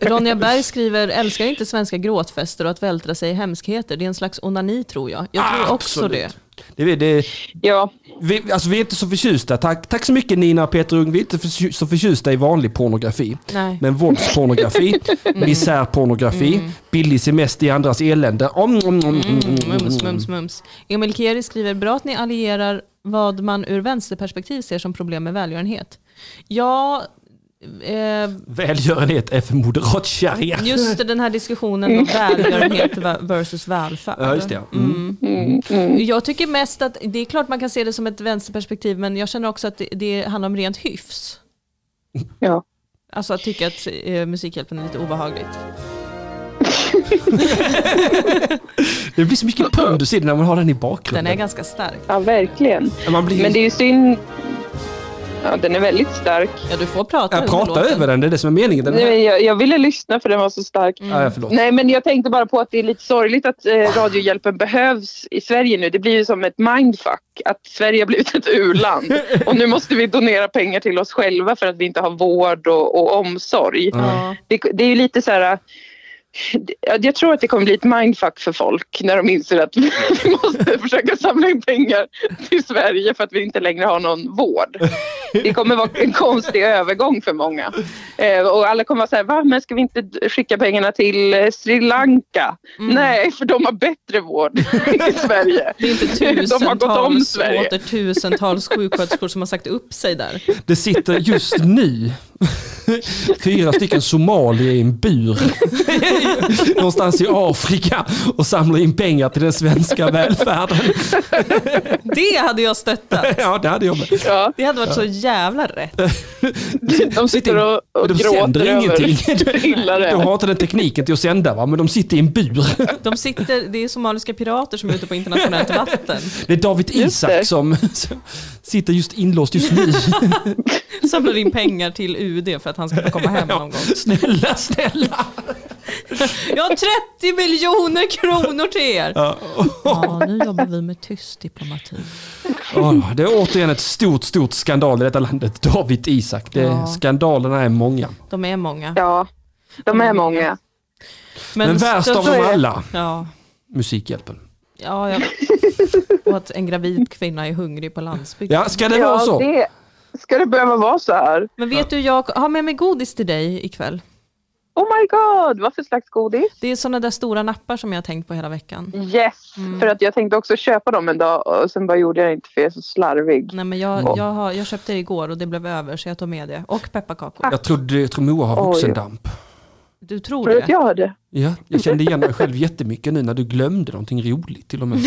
B: Ronja Berg skriver, älskar inte svenska gråtfester och att vältra sig i hemskheter. Det är en slags onani tror jag. Jag tror också
A: Absolut.
B: det.
A: Det, det,
D: Ja,
A: Vi, alltså, vi är inte så förtjusta. Tack, tack så mycket Nina och Peter Ung. Vi är inte förtju- så förtjusta i vanlig pornografi.
B: Nej.
A: Men våldspornografi, misärpornografi, billig semester i andras elände. Om, om, om,
B: Mm.
A: om, om.
B: Mums, mums, mums. Emil Keri skriver, bra att ni allierar vad man ur vänsterperspektiv ser som problem med välgörenhet. Ja, eh,
A: Välgörenhet är för moderat sharia.
B: just den här diskussionen om välgörenhet va- versus välfärd.
A: Ja, just det. ja. Mm.
B: Jag tycker mest att, det är klart man kan se det som ett vänsterperspektiv, men jag känner också att det, det handlar om rent hyfs.
D: ja.
B: Alltså att tycka att eh, Musikhjälpen är lite obehagligt.
A: Det blir så mycket pondus i det när man har den i bakgrunden.
B: Den är ganska stark.
D: ja verkligen.
A: Man blir,
D: Men det är ju synd. Ja, den är väldigt stark.
B: Ja, du får prata
A: Jag pratar över den, det är det som är meningen. Den
D: Nej,
A: här...
D: men jag, jag ville lyssna för den var så stark.
A: Ja, förlåt.
D: Nej, men jag tänkte bara på att det är lite sorgligt att eh, Radiohjälpen behövs i Sverige nu. Det blir ju som ett mindfuck att Sverige har blivit ett u-land och nu måste vi donera pengar till oss själva för att vi inte har vård och, och omsorg.
B: Ja.
D: Det, det är ju lite så här... eh, Jag tror att det kommer bli ett mindfuck för folk när de inser att (laughs) vi måste försöka samla in pengar till Sverige för att vi inte längre har någon vård. Det kommer vara en konstig övergång för många. Eh, och alla kommer vara så här, va, men ska vi inte d- skicka pengarna till eh, Sri Lanka? Nej, för de har bättre vård i Sverige.
B: Det är inte
D: (laughs) De har gått om
B: tusentals och
D: Sverige.
B: åter tusentals sjuksköterskor som har sagt upp sig där.
A: Det sitter just nu fyra stycken somalier i en bur (laughs) någonstans i Afrika och samlar in pengar till den svenska välfärden.
B: Det hade jag stöttat.
A: Ja, det hade jag med.
D: Ja,
B: Det hade varit så jävla rätt.
D: de sitter och, och
A: de
D: gråter
A: sänder
D: över
A: ingenting.
D: hur illa
A: (laughs)
D: det
A: De
D: är.
A: har inte den tekniken till att sända, va? men de sitter i en bur.
B: De sitter, det är somaliska pirater som är ute på internationellt vatten.
A: Det är David Isak
D: det.
A: som som sitter just inlåst just
D: (laughs)
A: nu.
B: Samlar in pengar till UD för att han ska få komma hem någon gång.
A: Snälla, snälla!
B: Jag har 30 miljoner kronor till er!
A: Ja,
B: Ja, nu jobbar vi med tyst diplomati.
A: åh, det är återigen ett stort, stort skandal i detta landet. David Isak. Det,
B: Ja.
A: Skandalerna är många.
B: De är många.
D: Ja, de är många.
A: Men, värst
B: störst-
A: av dem alla,
B: Ja,
A: Musikhjälpen.
B: ja, ja. Och att en gravid kvinna är hungrig på landsbygden.
A: Ja, ska det vara
D: Ja,
A: så?
D: det, ska det behöva vara så här?
B: Men vet du, jag har med mig godis till dig ikväll.
D: Oh my god, vad för slags godis?
B: Det är sådana där stora nappar som jag har tänkt på hela veckan.
D: Yes, för att jag tänkte också köpa dem en dag och sen bara gjorde jag det inte för jag är så slarvig.
B: Nej, men jag, jag, har, jag köpte det igår och det blev över så jag tog med det. Och pepparkakor.
A: Jag, trodde, jag tror Moa har
D: Oj.
A: vuxendamp.
B: Du tror
D: Tror du att
B: det?
D: jag har det?
A: Ja, jag kände igen mig själv jättemycket nu när du glömde någonting roligt till och med.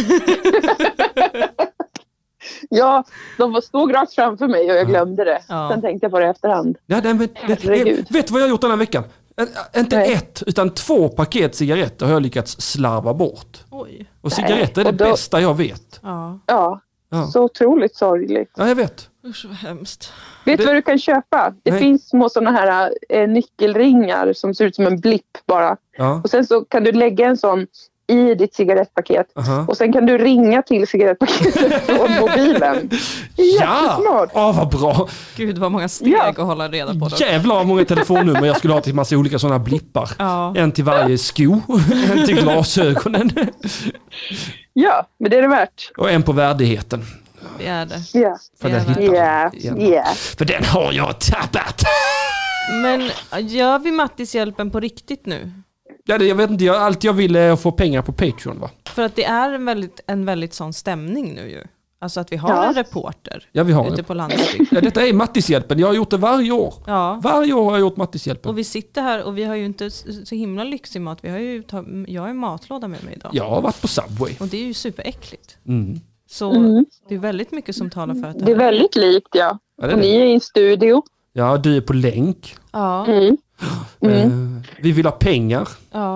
D: Ja, de var stod rakt framför mig och jag glömde det.
B: Ja.
D: Sen tänkte jag på det i efterhand.
A: Ja, nej, men, det,
D: Herregud.
A: det, vet du vad jag har gjort den här veckan? Ä- ä- Inte
D: Nej.
A: ett, utan två paket cigaretter har jag lyckats slarva bort.
B: Oj.
A: Och cigaretter är det
D: och då-
A: bästa jag vet.
B: Ja.
D: Ja,
A: Ja.
D: så otroligt sorgligt.
A: Ja, jag vet.
B: Usch vad hemskt.
D: Vet
A: Det-
D: du vad du kan köpa? Det
A: Nej.
D: finns små sådana här eh, nyckelringar som ser ut som en blipp bara.
A: Ja.
D: Och sen så kan du lägga en sån i ditt cigarettpaket.
A: Aha.
D: Och sen kan du ringa
A: (laughs)
D: till cigarettpaketet från mobilen. Det är
A: Ja,
D: jättesmart.
A: ah, vad bra.
B: Gud vad många steg
D: Ja.
B: att hålla reda på. Då.
A: Jävlar vad många telefonnummer jag skulle ha till massa olika sådana blippar.
B: Ja.
A: En till varje sko, (laughs) en till glasögonen
D: Ja, men det är det värt.
A: och en på värdigheten.
B: Det är det.
D: Ja.
A: För den,
B: Jävlar.
A: hittar man
D: Ja,
A: igen.
D: ja.
A: För den har jag tappat.
B: Men äh, gör vi Mattis hjälpen på riktigt nu?
A: Ja, det, jag vet inte, jag, allt jag ville är att få pengar på Patreon va?
B: För att det är en väldigt, en väldigt sån stämning nu ju. Alltså att vi har
D: Ja.
B: en reporter
A: Ja, vi har
B: ute
A: en.
B: på landsbygden.
A: Ja, detta är Mattishjälpen, jag har gjort det varje år.
B: Ja.
A: Varje år har jag gjort Mattishjälpen.
B: Och vi sitter här och vi har ju inte s- så himla lyxig mat. Vi har ju ta- jag har ju matlåda med mig idag.
A: Jag har varit på Subway.
B: Och det är ju superäckligt.
A: Mm.
B: Så det är väldigt mycket som talar för att
D: Det är väldigt likt, ja.
A: Ja, det är
D: Och
A: det.
D: ni är i en studio.
A: Ja, du är på länk.
B: Ja,
D: Mm.
A: Eh, vi vill ha pengar.
B: ja.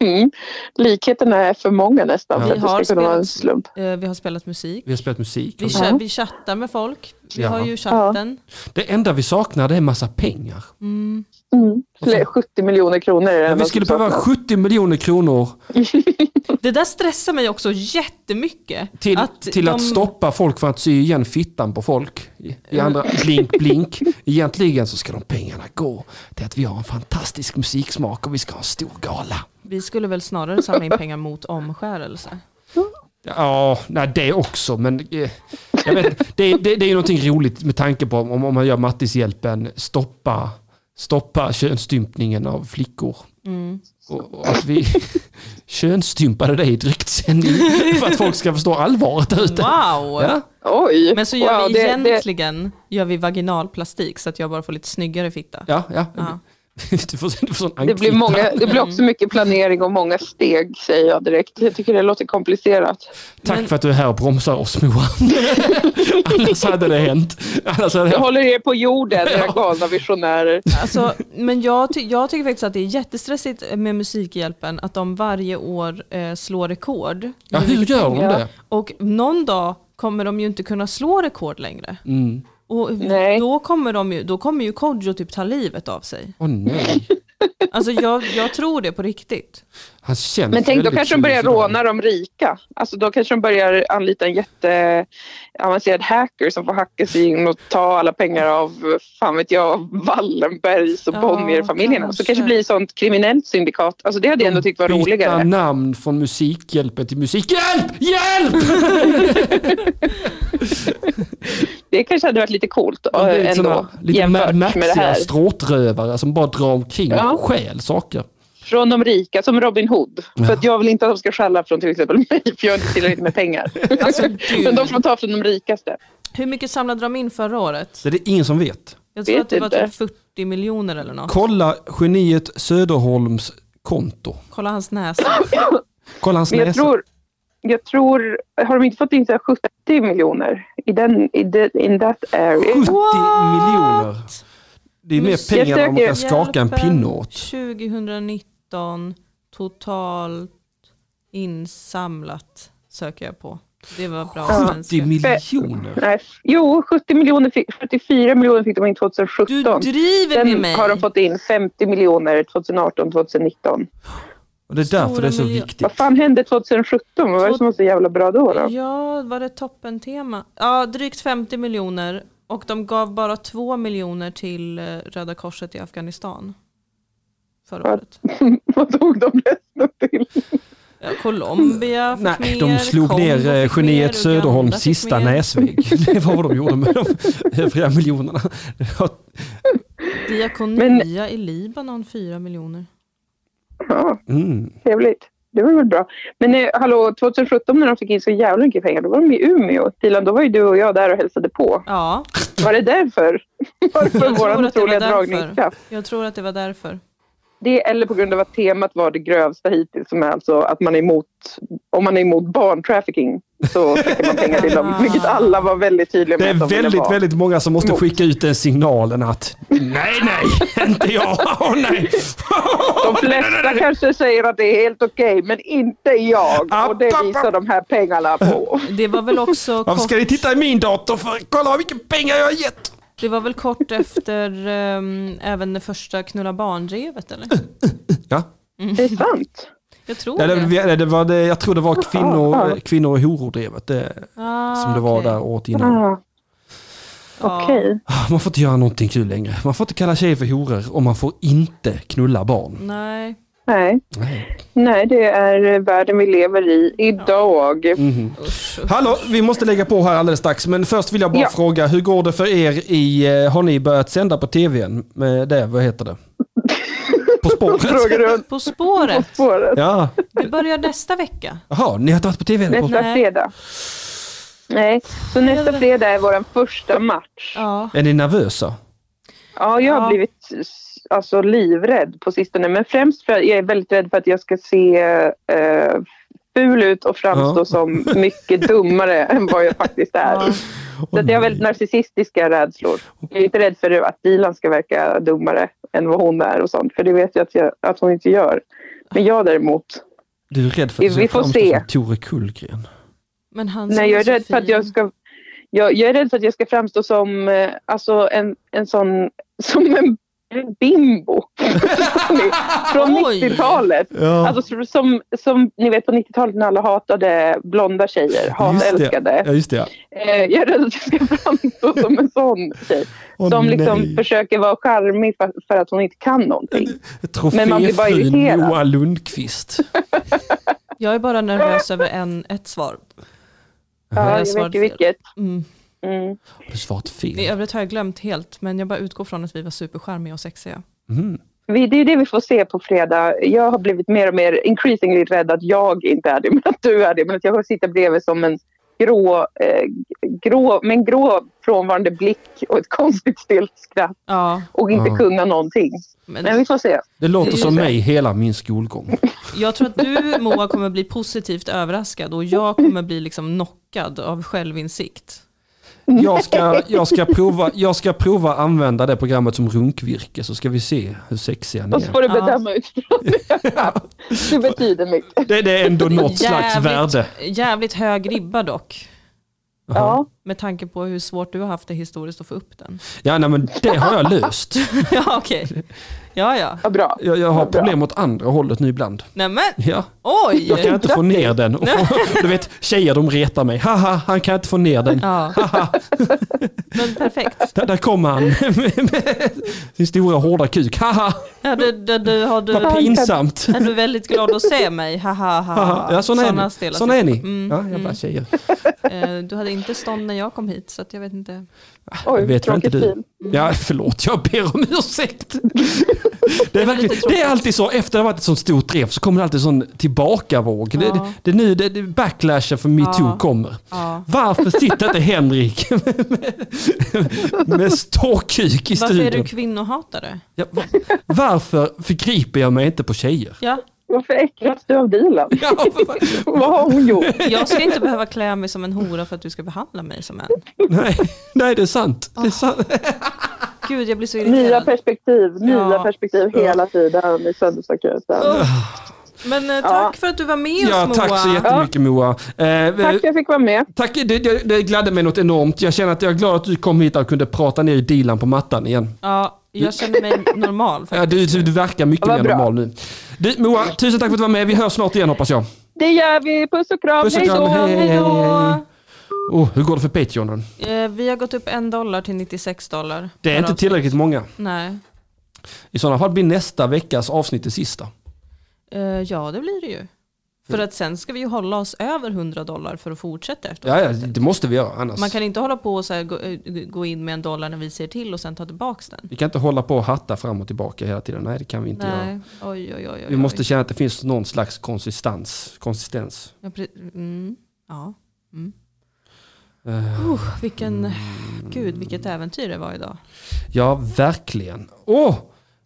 D: Mm. Likheterna är för många nästan
A: Ja.
D: för
B: Vi
D: att det
B: har
D: ska kunna vara en
B: spelat-
D: slump.
B: Eh, Vi har spelat musik.
A: Vi har spelat musik.
B: Vi,
A: också.
B: cha- vi chattar med folk. Vi
A: Ja.
B: har ju chatten.
A: Det enda vi saknar det är en massa pengar.
B: Mm.
D: Mm. Fler- 70 miljoner kronor är det
A: Men
D: enda
A: vi
D: som
A: skulle behöva
D: saknas.
A: 70 miljoner kronor
B: Det där stressar mig också jättemycket.
A: till, till att stoppa folk från att sy igen fittan på folk. I, i andra, blink, blink. Egentligen så ska de pengarna gå till att vi har en fantastisk musiksmak och vi ska ha en stor gala.
B: Vi skulle väl snarare samla in pengar mot omskärelse.
A: Ja, nej det också, men eh, jag vet, inte. det, det, det är ju någonting roligt med tanke på om, om man gör Mattishjälpen stoppa, stoppa könsstympningen av flickor.
D: Mm.
A: Och, och att vi (laughs) könsstympade dig i direktsändning för att folk ska förstå allvaret där ute.
B: Wow!
A: Ja,
D: Oj!
B: Men så gör
D: Wow,
B: vi
D: det-
B: egentligen gör vi vaginalplastik så att jag bara får lite snyggare fitta.
A: ja, ja.
B: Ja.
A: (laughs) Du får, du får sån
D: Det, det, blir
A: anknytning.
D: många, det
B: Mm.
D: blir också mycket planering och många steg, säger jag direkt. Jag tycker det låter komplicerat.
A: Tack
B: Men-
A: för att du är här och bromsar oss Moa. (laughs) Annars hade det hänt. Annars hade det
D: Jag
A: hänt.
D: håller er på jorden,
A: (laughs)
D: era galna visionärer.
B: Alltså, men jag, ty- jag tycker faktiskt att det är jättestressigt med Musikhjälpen att de varje år eh, slår rekord.
A: Ja, hur gör de det?
B: Och någon dag kommer de ju inte kunna slå rekord längre.
A: Mm.
B: Och
D: Nej.
B: då kommer, de ju, då kommer ju Kodjo typ ta livet av sig.
A: Åh nej.
B: Alltså jag, jag tror det på riktigt.
A: Han känns
D: Men tänk, då
A: väldigt
D: kanske de börjar
A: suicidal.
D: råna de rika. Alltså då kanske de börjar anlita en jätteavancerad hacker som får hacka sig in och ta alla pengar av, fan vet jag, Wallenbergs och
B: Ja,
D: Bonnier-familjerna. Så
B: kanske.
D: kanske det blir ett sånt kriminellt syndikat. Alltså det hade jag ändå tyckt var
A: Byta
D: roligare.
A: namn från Musikhjälpen till Musikhjälp! Hjälp!
D: Det kanske hade varit lite coolt
A: Man blir
D: äh,
A: såna
D: ändå
A: lite
D: jämfört med det
A: maxiga
D: här.
A: stråtrövare som bara drar omkring
D: Ja.
A: och stjäl saker.
D: Från de rika, som Robin Hood. För att jag vill inte att de ska stjäla från till exempel mig, för jag har inte tillräckligt med pengar. (laughs)
B: Alltså gud.
D: Men de får ta från de rikaste.
B: Hur mycket samlade de in förra året?
A: Så det är ingen som vet.
B: Jag tror
D: Vet
B: att det var
D: inte.
B: typ 40 miljoner eller något.
A: Kolla geniet Söderholms konto.
B: Kolla hans näsa.
A: Kolla hans
D: Men jag
A: näsa.
D: tror, jag tror, har de inte fått in så här 70 miljoner i den, i den, in that area?
A: 70 miljoner. Det är mer pengar än vad man kan skaka en pinne åt.
B: 2019 totalt insamlat söker jag på. Det var bra
A: 70
B: svenska.
A: miljoner.
D: Nej, jo, 70 miljoner fick, 74 miljoner fick de in
B: Du
D: 2017.
B: driver med
D: Sen
B: mig.
D: har de fått in 50 miljoner 2018, 2019.
A: Och det är därför det är så
B: miljoner.
A: viktigt.
D: Vad fan hände 2017? Vad var det som var så jävla bra då? då?
B: Ja, var det toppentema? Ja, drygt 50 miljoner och de gav bara 2 miljoner till eh, Röda Korset i Afghanistan. Förra
D: Ja.
B: året.
D: (laughs) Vad tog de resten till?
B: Ja, Colombia fick
A: Nej,
B: mer,
A: de slog
B: Kongo
A: ner eh,
B: fick mer,
A: geniet
B: Uganda
A: Söderholms
B: fick
A: sista
B: mer.
A: näsvägg. (laughs) Det var vad de gjorde med de övriga miljonerna. Det var-
B: Diakonia
D: Men-
B: i Libanon 4 miljoner.
D: Ja,
A: Mm.
D: trevligt. Det var väl bra. Men eh, hallå, 2017 när de fick in så jävla mycket pengar, då var de i Umeå. Dilan, då var ju du och jag där och hälsade på.
B: Ja,
D: Var
B: (laughs)
D: det därför? Varför
B: Jag tror att det
D: vår
B: var
D: otroliga
B: därför.
D: dragningskraft?
B: jag tror att det var därför.
D: Det eller på grund av att temat var det grövsta hittills som är alltså att man är emot, om man är emot barntrafficking så skickar man pengar
B: (laughs)
D: till dem. Vilket alla var väldigt tydliga
A: Det
D: med
A: är
D: att de ville
A: väldigt,
D: vara.
A: väldigt många som måste
D: Mot.
A: skicka ut den signalen att nej, (laughs) nej, inte jag. Åh, nej.
D: De flesta kanske säger att det är helt okej men inte jag och det
A: App, app,
D: visar de här
A: (laughs)
D: pengarna på.
B: Det var väl också
A: (laughs) Varför
B: kort,
A: ska ni titta i min dator för? Kolla vilka pengar jag har gett.
B: det var väl kort efter ehm, även det första knulla barn-drevet eller?
A: Ja.
D: Det är sant.
B: Jag tror
A: Eller,
B: det.
A: vi- eller det var det, jag tror det var
D: Ja,
A: kvinnor,
D: ja.
A: kvinnor och horor drevet det,
B: Ah,
A: som det var
B: okej.
A: där året innan. Ah,
D: Ah,
B: Ja.
D: Okej.
A: Man får inte göra någonting kul längre. Man får inte kalla tjejer för horor och man får inte knulla barn.
B: Nej.
D: Nej.
A: Nej.
D: Nej, det är eh, världen vi lever i idag.
A: Mhm.
B: Usch, usch.
A: Hallå, vi måste lägga på här alldeles strax. Men först vill jag bara
D: Ja.
A: fråga, hur går det för er i... eh, Har ni börjat sända på tvn? Med Eh, det, vad heter
D: (laughs)
A: det? På spåret?
D: Frågar runt
B: På spåret.
A: (laughs)
D: spåret.
A: Ja.
B: Det börjar nästa vecka.
A: Jaha, ni har inte varit på tvn? På...
D: Nästa
B: Nej.
D: fredag. Nej, så nästa fredag är vår första match.
B: Ja.
A: Är ni nervösa?
D: Ja, jag har
B: Ja.
D: blivit s- alltså, livrädd på sistone. Men främst för att jag är väldigt rädd för att jag ska se eh, ful ut och framstå
A: Ja.
D: som mycket dummare (laughs) än vad jag faktiskt är.
B: Ja.
A: Åh,
D: Så att jag
A: nej.
D: har väldigt narcissistiska rädslor. Jag är inte rädd för att Dilan ska verka dummare än vad hon är och sånt. För det vet jag att, jag, att hon inte gör. Men jag däremot.
A: Du är rädd för
D: Vi-
A: att du
D: vi
A: ska
D: får
A: framstå
D: se.
A: som Tore Kullgren?
B: Men han som
D: Nej, jag är
B: så
D: rädd för att
B: fin.
D: jag ska... Jag, jag är rädd för att jag ska framstå som eh, alltså en, en sån... Som en, en bimbo. (laughs) Från
B: Oj.
D: 90-talet.
A: Ja.
D: Alltså som, som ni vet på 90-talet när alla hatade blonda tjejer, hatälskade.
A: Ja, just det. ja.
D: Eh, jag är rädd att jag
A: (laughs)
D: ska framstå som en sån tjej.
A: Åh,
D: som
A: nej.
D: liksom försöker vara charmig för, för att hon inte kan någonting. Men man blir bara
A: Troféfrun
D: irriterad.
A: Moa Lundqvist.
B: Jag är bara nervös över en, ett svar.
D: Ja,
B: jag
D: jag vet
B: svarade
D: ju
B: fel.
D: vilket.
B: Mm.
D: Mm.
A: Har du svarat
B: I
A: fel?
B: övrigt har jag glömt helt, men jag bara utgår från att vi var supercharmiga och sexiga.
A: Mhm.
D: Vi, det är det vi får se på fredag. Jag har blivit mer och mer increasingly rädd att jag inte är det, (laughs) men att du är det. Men att jag sitter bredvid som en grå, eh, grå, med en grå frånvarande blick och ett konstigt stelt skratt
B: Ja,
D: och inte
A: Ja.
D: kunna någonting. Men
B: men
D: vi får se.
A: Det låter som mig hela min skolgång.
B: jag tror att du Moa kommer bli positivt överraskad och jag kommer bli liksom knockad av självinsikt.
A: Jag ska, jag ska, prova, jag ska prova använda det programmet som runkvirke så ska vi se hur sexiga ni
D: Och så
A: är.
D: får du
B: Ja.
D: bedöma utifrån
A: (laughs)
D: det. Det betyder mycket.
A: Det, det är ändå något slags
B: Jävligt-
A: värde.
B: Jävligt hög ribba dock.
D: Ja.
B: Med tanke på hur svårt du har haft det historiskt att få upp den. (laughs)
A: Ja, nej, men det har jag löst.
B: ja, okej. Ja, ja.
D: Vad bra.
A: Jag, jag har
D: Vad bra.
A: problem åt andra hållet nu ibland.
B: Nämen,
A: Ja.
B: oj!
A: Jag kan inte få ner den. Och få, (laughs) du vet, tjejer de retar mig. Haha, han kan inte få ner den. (laughs)
B: Ja. Men perfekt.
A: Där, där kommer han (laughs) med med sin stora hårda kuk. Haha,
B: Ja, du, du, du, har du,
A: vad pinsamt.
B: är du väldigt glad att se mig? Haha,
A: Haha.
B: ha.
A: Ja, såna är
B: Såna
A: ni.
B: stela
A: Såna är ni.
B: sidor. Mm,
A: Ja, jävla tjejer.
B: eh, Du hade inte stånd när jag kom hit, så att jag vet inte.
A: Det
D: Oj,
A: vet väl inte
D: tråkigt
A: du?
D: du.
B: Mm.
A: Ja, förlåt, jag ber om
B: (laughs)
A: ursäkt. Det är, verkligen, det är alltid så, efter det har varit ett sånt stort träff så kommer det alltid en sån tillbakavåg. Det, det,
B: Ja.
A: det är nu det, det backlashen för metoo
B: Ja.
A: kommer.
B: Ja.
A: Varför sitter inte
B: (laughs)
A: Henrik med, med, med ståkuk i
B: Varför är du
A: studion?
B: kvinnohatare?
A: Ja, va- varför förgriper jag mig inte på tjejer?
B: Ja,
D: Varför äcklas du av Dilan?
A: Ja, för fan.
D: (laughs) Vad har hon gjort?
B: jag ska inte behöva klä mig som en hora för att du ska behandla mig som en.
A: nej, nej, det är sant. Det är sant.
B: Gud, jag blir så
D: Nya
B: irriterad.
D: perspektiv, nya
B: Ja.
D: perspektiv hela tiden i söndagsakuten.
B: Uff. Men eh, tack för att du var med oss
A: Ja,
B: Moa.
A: tack så jättemycket Moa. Eh,
D: Tack för att jag fick vara med.
A: Tack, det, det, det gladde mig något enormt. Jag känner att jag är glad att du kom hit och kunde prata ner Dilan på mattan igen.
B: Ja, jag känner mig normal
A: Ja,
B: faktiskt.
A: du, du verkar mycket
D: Vad
A: mer
D: bra.
A: normal nu. Du, Moa, tusen tack för att du var med. Vi hörs snart igen hoppas jag.
D: Det gör vi. Puss och kram.
A: Puss och
D: Hej
A: kram,
D: då.
A: hej.
B: Hej då!
A: Oh, hur går det för Patreonen?
B: Eh, Vi har gått upp en dollar till 96 dollar.
A: Det är
B: per
A: inte
B: avsnitt.
A: tillräckligt många.
B: Nej.
A: I sådana fall blir nästa veckas avsnitt det sista.
B: Eh, Ja, det blir det ju. För
A: Mm.
B: att sen ska vi ju hålla oss över 100 dollar för att fortsätta efter.
A: Ja, ja det måste vi göra annars.
B: Man kan inte hålla på och så här gå, eh, gå in med en dollar när vi ser till och sen ta tillbaka den.
A: Vi kan inte hålla på och hatta fram och tillbaka hela tiden. Nej, det kan vi inte göra.
B: Nej, oj oj oj. oj,
A: Vi måste
B: oj.
A: känna att det finns någon slags konsistens. konsistens.
B: Ja, pre- mm, ja. Mm.
A: Eh,
B: Uh, vilken,
A: Mm.
B: gud vilket äventyr det var idag.
A: ja, verkligen. Åh,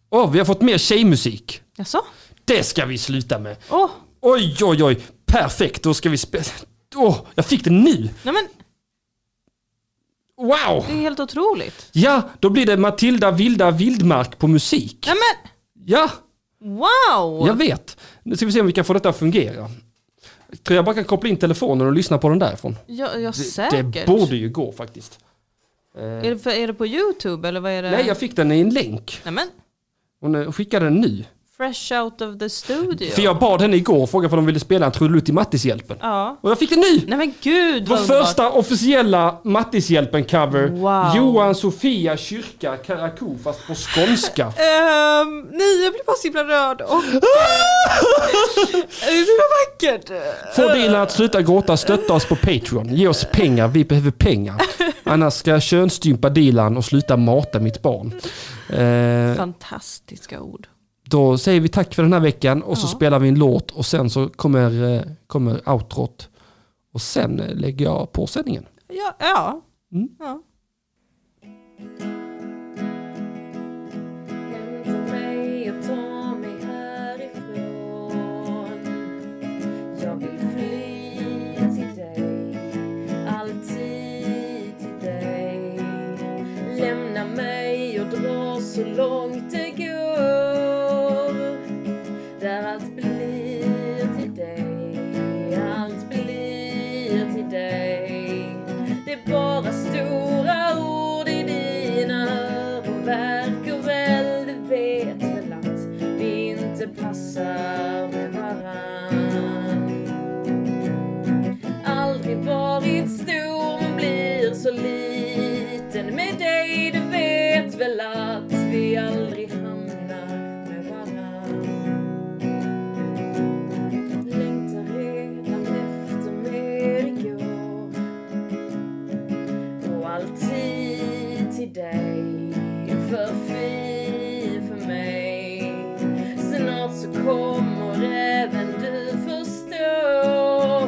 A: åh, vi har fått mer tjejmusik.
B: Jaså?
A: Det ska vi sluta med.
B: Åh,
A: Oj, oj, oj. Perfekt, då ska vi spela... Åh, jag fick den nu!
B: nej men
A: Wow!
B: det är helt otroligt.
A: Ja, då blir det Matilda Vilda Vildmark på musik.
B: Nej men
A: Ja,
B: wow!
A: jag vet. Nu ska vi se om vi kan få detta att fungera. Tror jag bara kan koppla in telefonen och lyssna på den därifrån.
B: Ja, ja
A: Det,
B: säkert.
A: det borde ju gå faktiskt. Eh,
B: Är det, för, är det på Youtube eller vad är det?
A: nej, jag fick den i en länk.
B: Nej men,
A: Hon eh, skickade den nu.
B: fresh out of the studio.
A: För jag bad henne igår och frågade om de ville spela en trudelutt i Mattishjälpen.
B: Ja.
A: Och jag fick den nu!
B: Nej men gud
A: Vår
B: vad underbart.
A: första officiella Mattishjälpen-cover.
B: Wow.
A: Johan Sofia Kyrka Karakou fast på skånska.
B: Ehm, nej jag blir bara så himla
A: (laughs)
B: rörd och... Äh, det är så vackert.
A: Få Dilan att sluta gråta, stötta oss på Patreon. Ge oss pengar, vi behöver pengar. Annars ska jag könsstympa Dilan och sluta mata mitt barn. Eh,
B: Fantastiska ord.
A: då säger vi tack för den här veckan och så
B: Ja.
A: spelar vi en låt och sen så kommer, eh, kommer outrot. Och sen eh, lägger jag på sändningen.
B: Ja, ja.
A: Mm.
B: ja.
E: Hämta mig och ta mig härifrån Jag vill fly till dig, alltid till dig Lämna mig och dra så långt det går Där allt blir till dig, allt blir till dig Det är bara stora ord i dina öronverk och väl, du vet väl att vi inte passar med varann Aldrig varit stor men blir så liten med dig Du vet väl att vi aldrig hamnar med varann längtar redan efter mer igår Och alltid till dig För fin för mig Snart så kommer även du förstå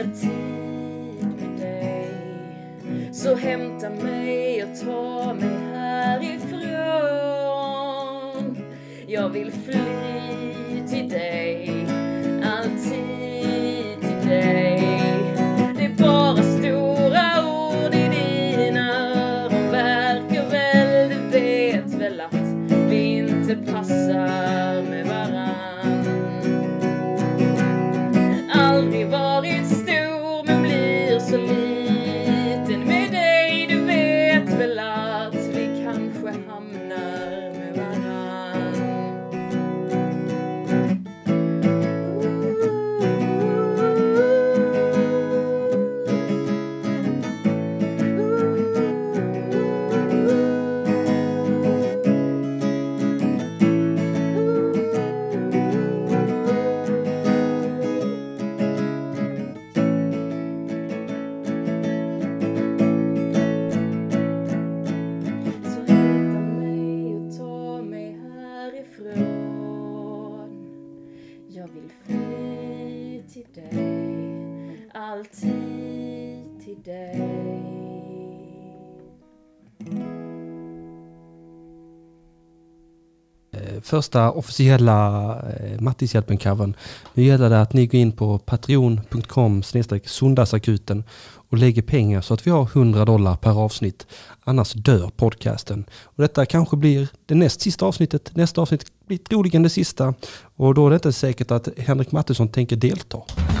E: tid med dig Så hämta mig och ta mig härifrån Jag vill fly till dig Alltid till dig Det är bara stora ord i dina öron Verkar väl, du vet väl att vi inte passar med varann aldrig varit stor men blir så liten med dig Du vet väl att vi kanske hamnar med varann Så hämta mig och ta mig härifrån Jag vill fly till dig Alltid till dig
A: Eh, Första officiella eh, Mattishjälpen-covern. Nu gäller det att ni går in på patreon.com snedstreck sundagsakuten och lägger pengar så att vi har 100 dollar per avsnitt. Annars dör podcasten. Och detta kanske blir det näst sista avsnittet. Nästa avsnitt blir troligen det sista. Och då är det inte säkert att Henrik Mattisson tänker delta.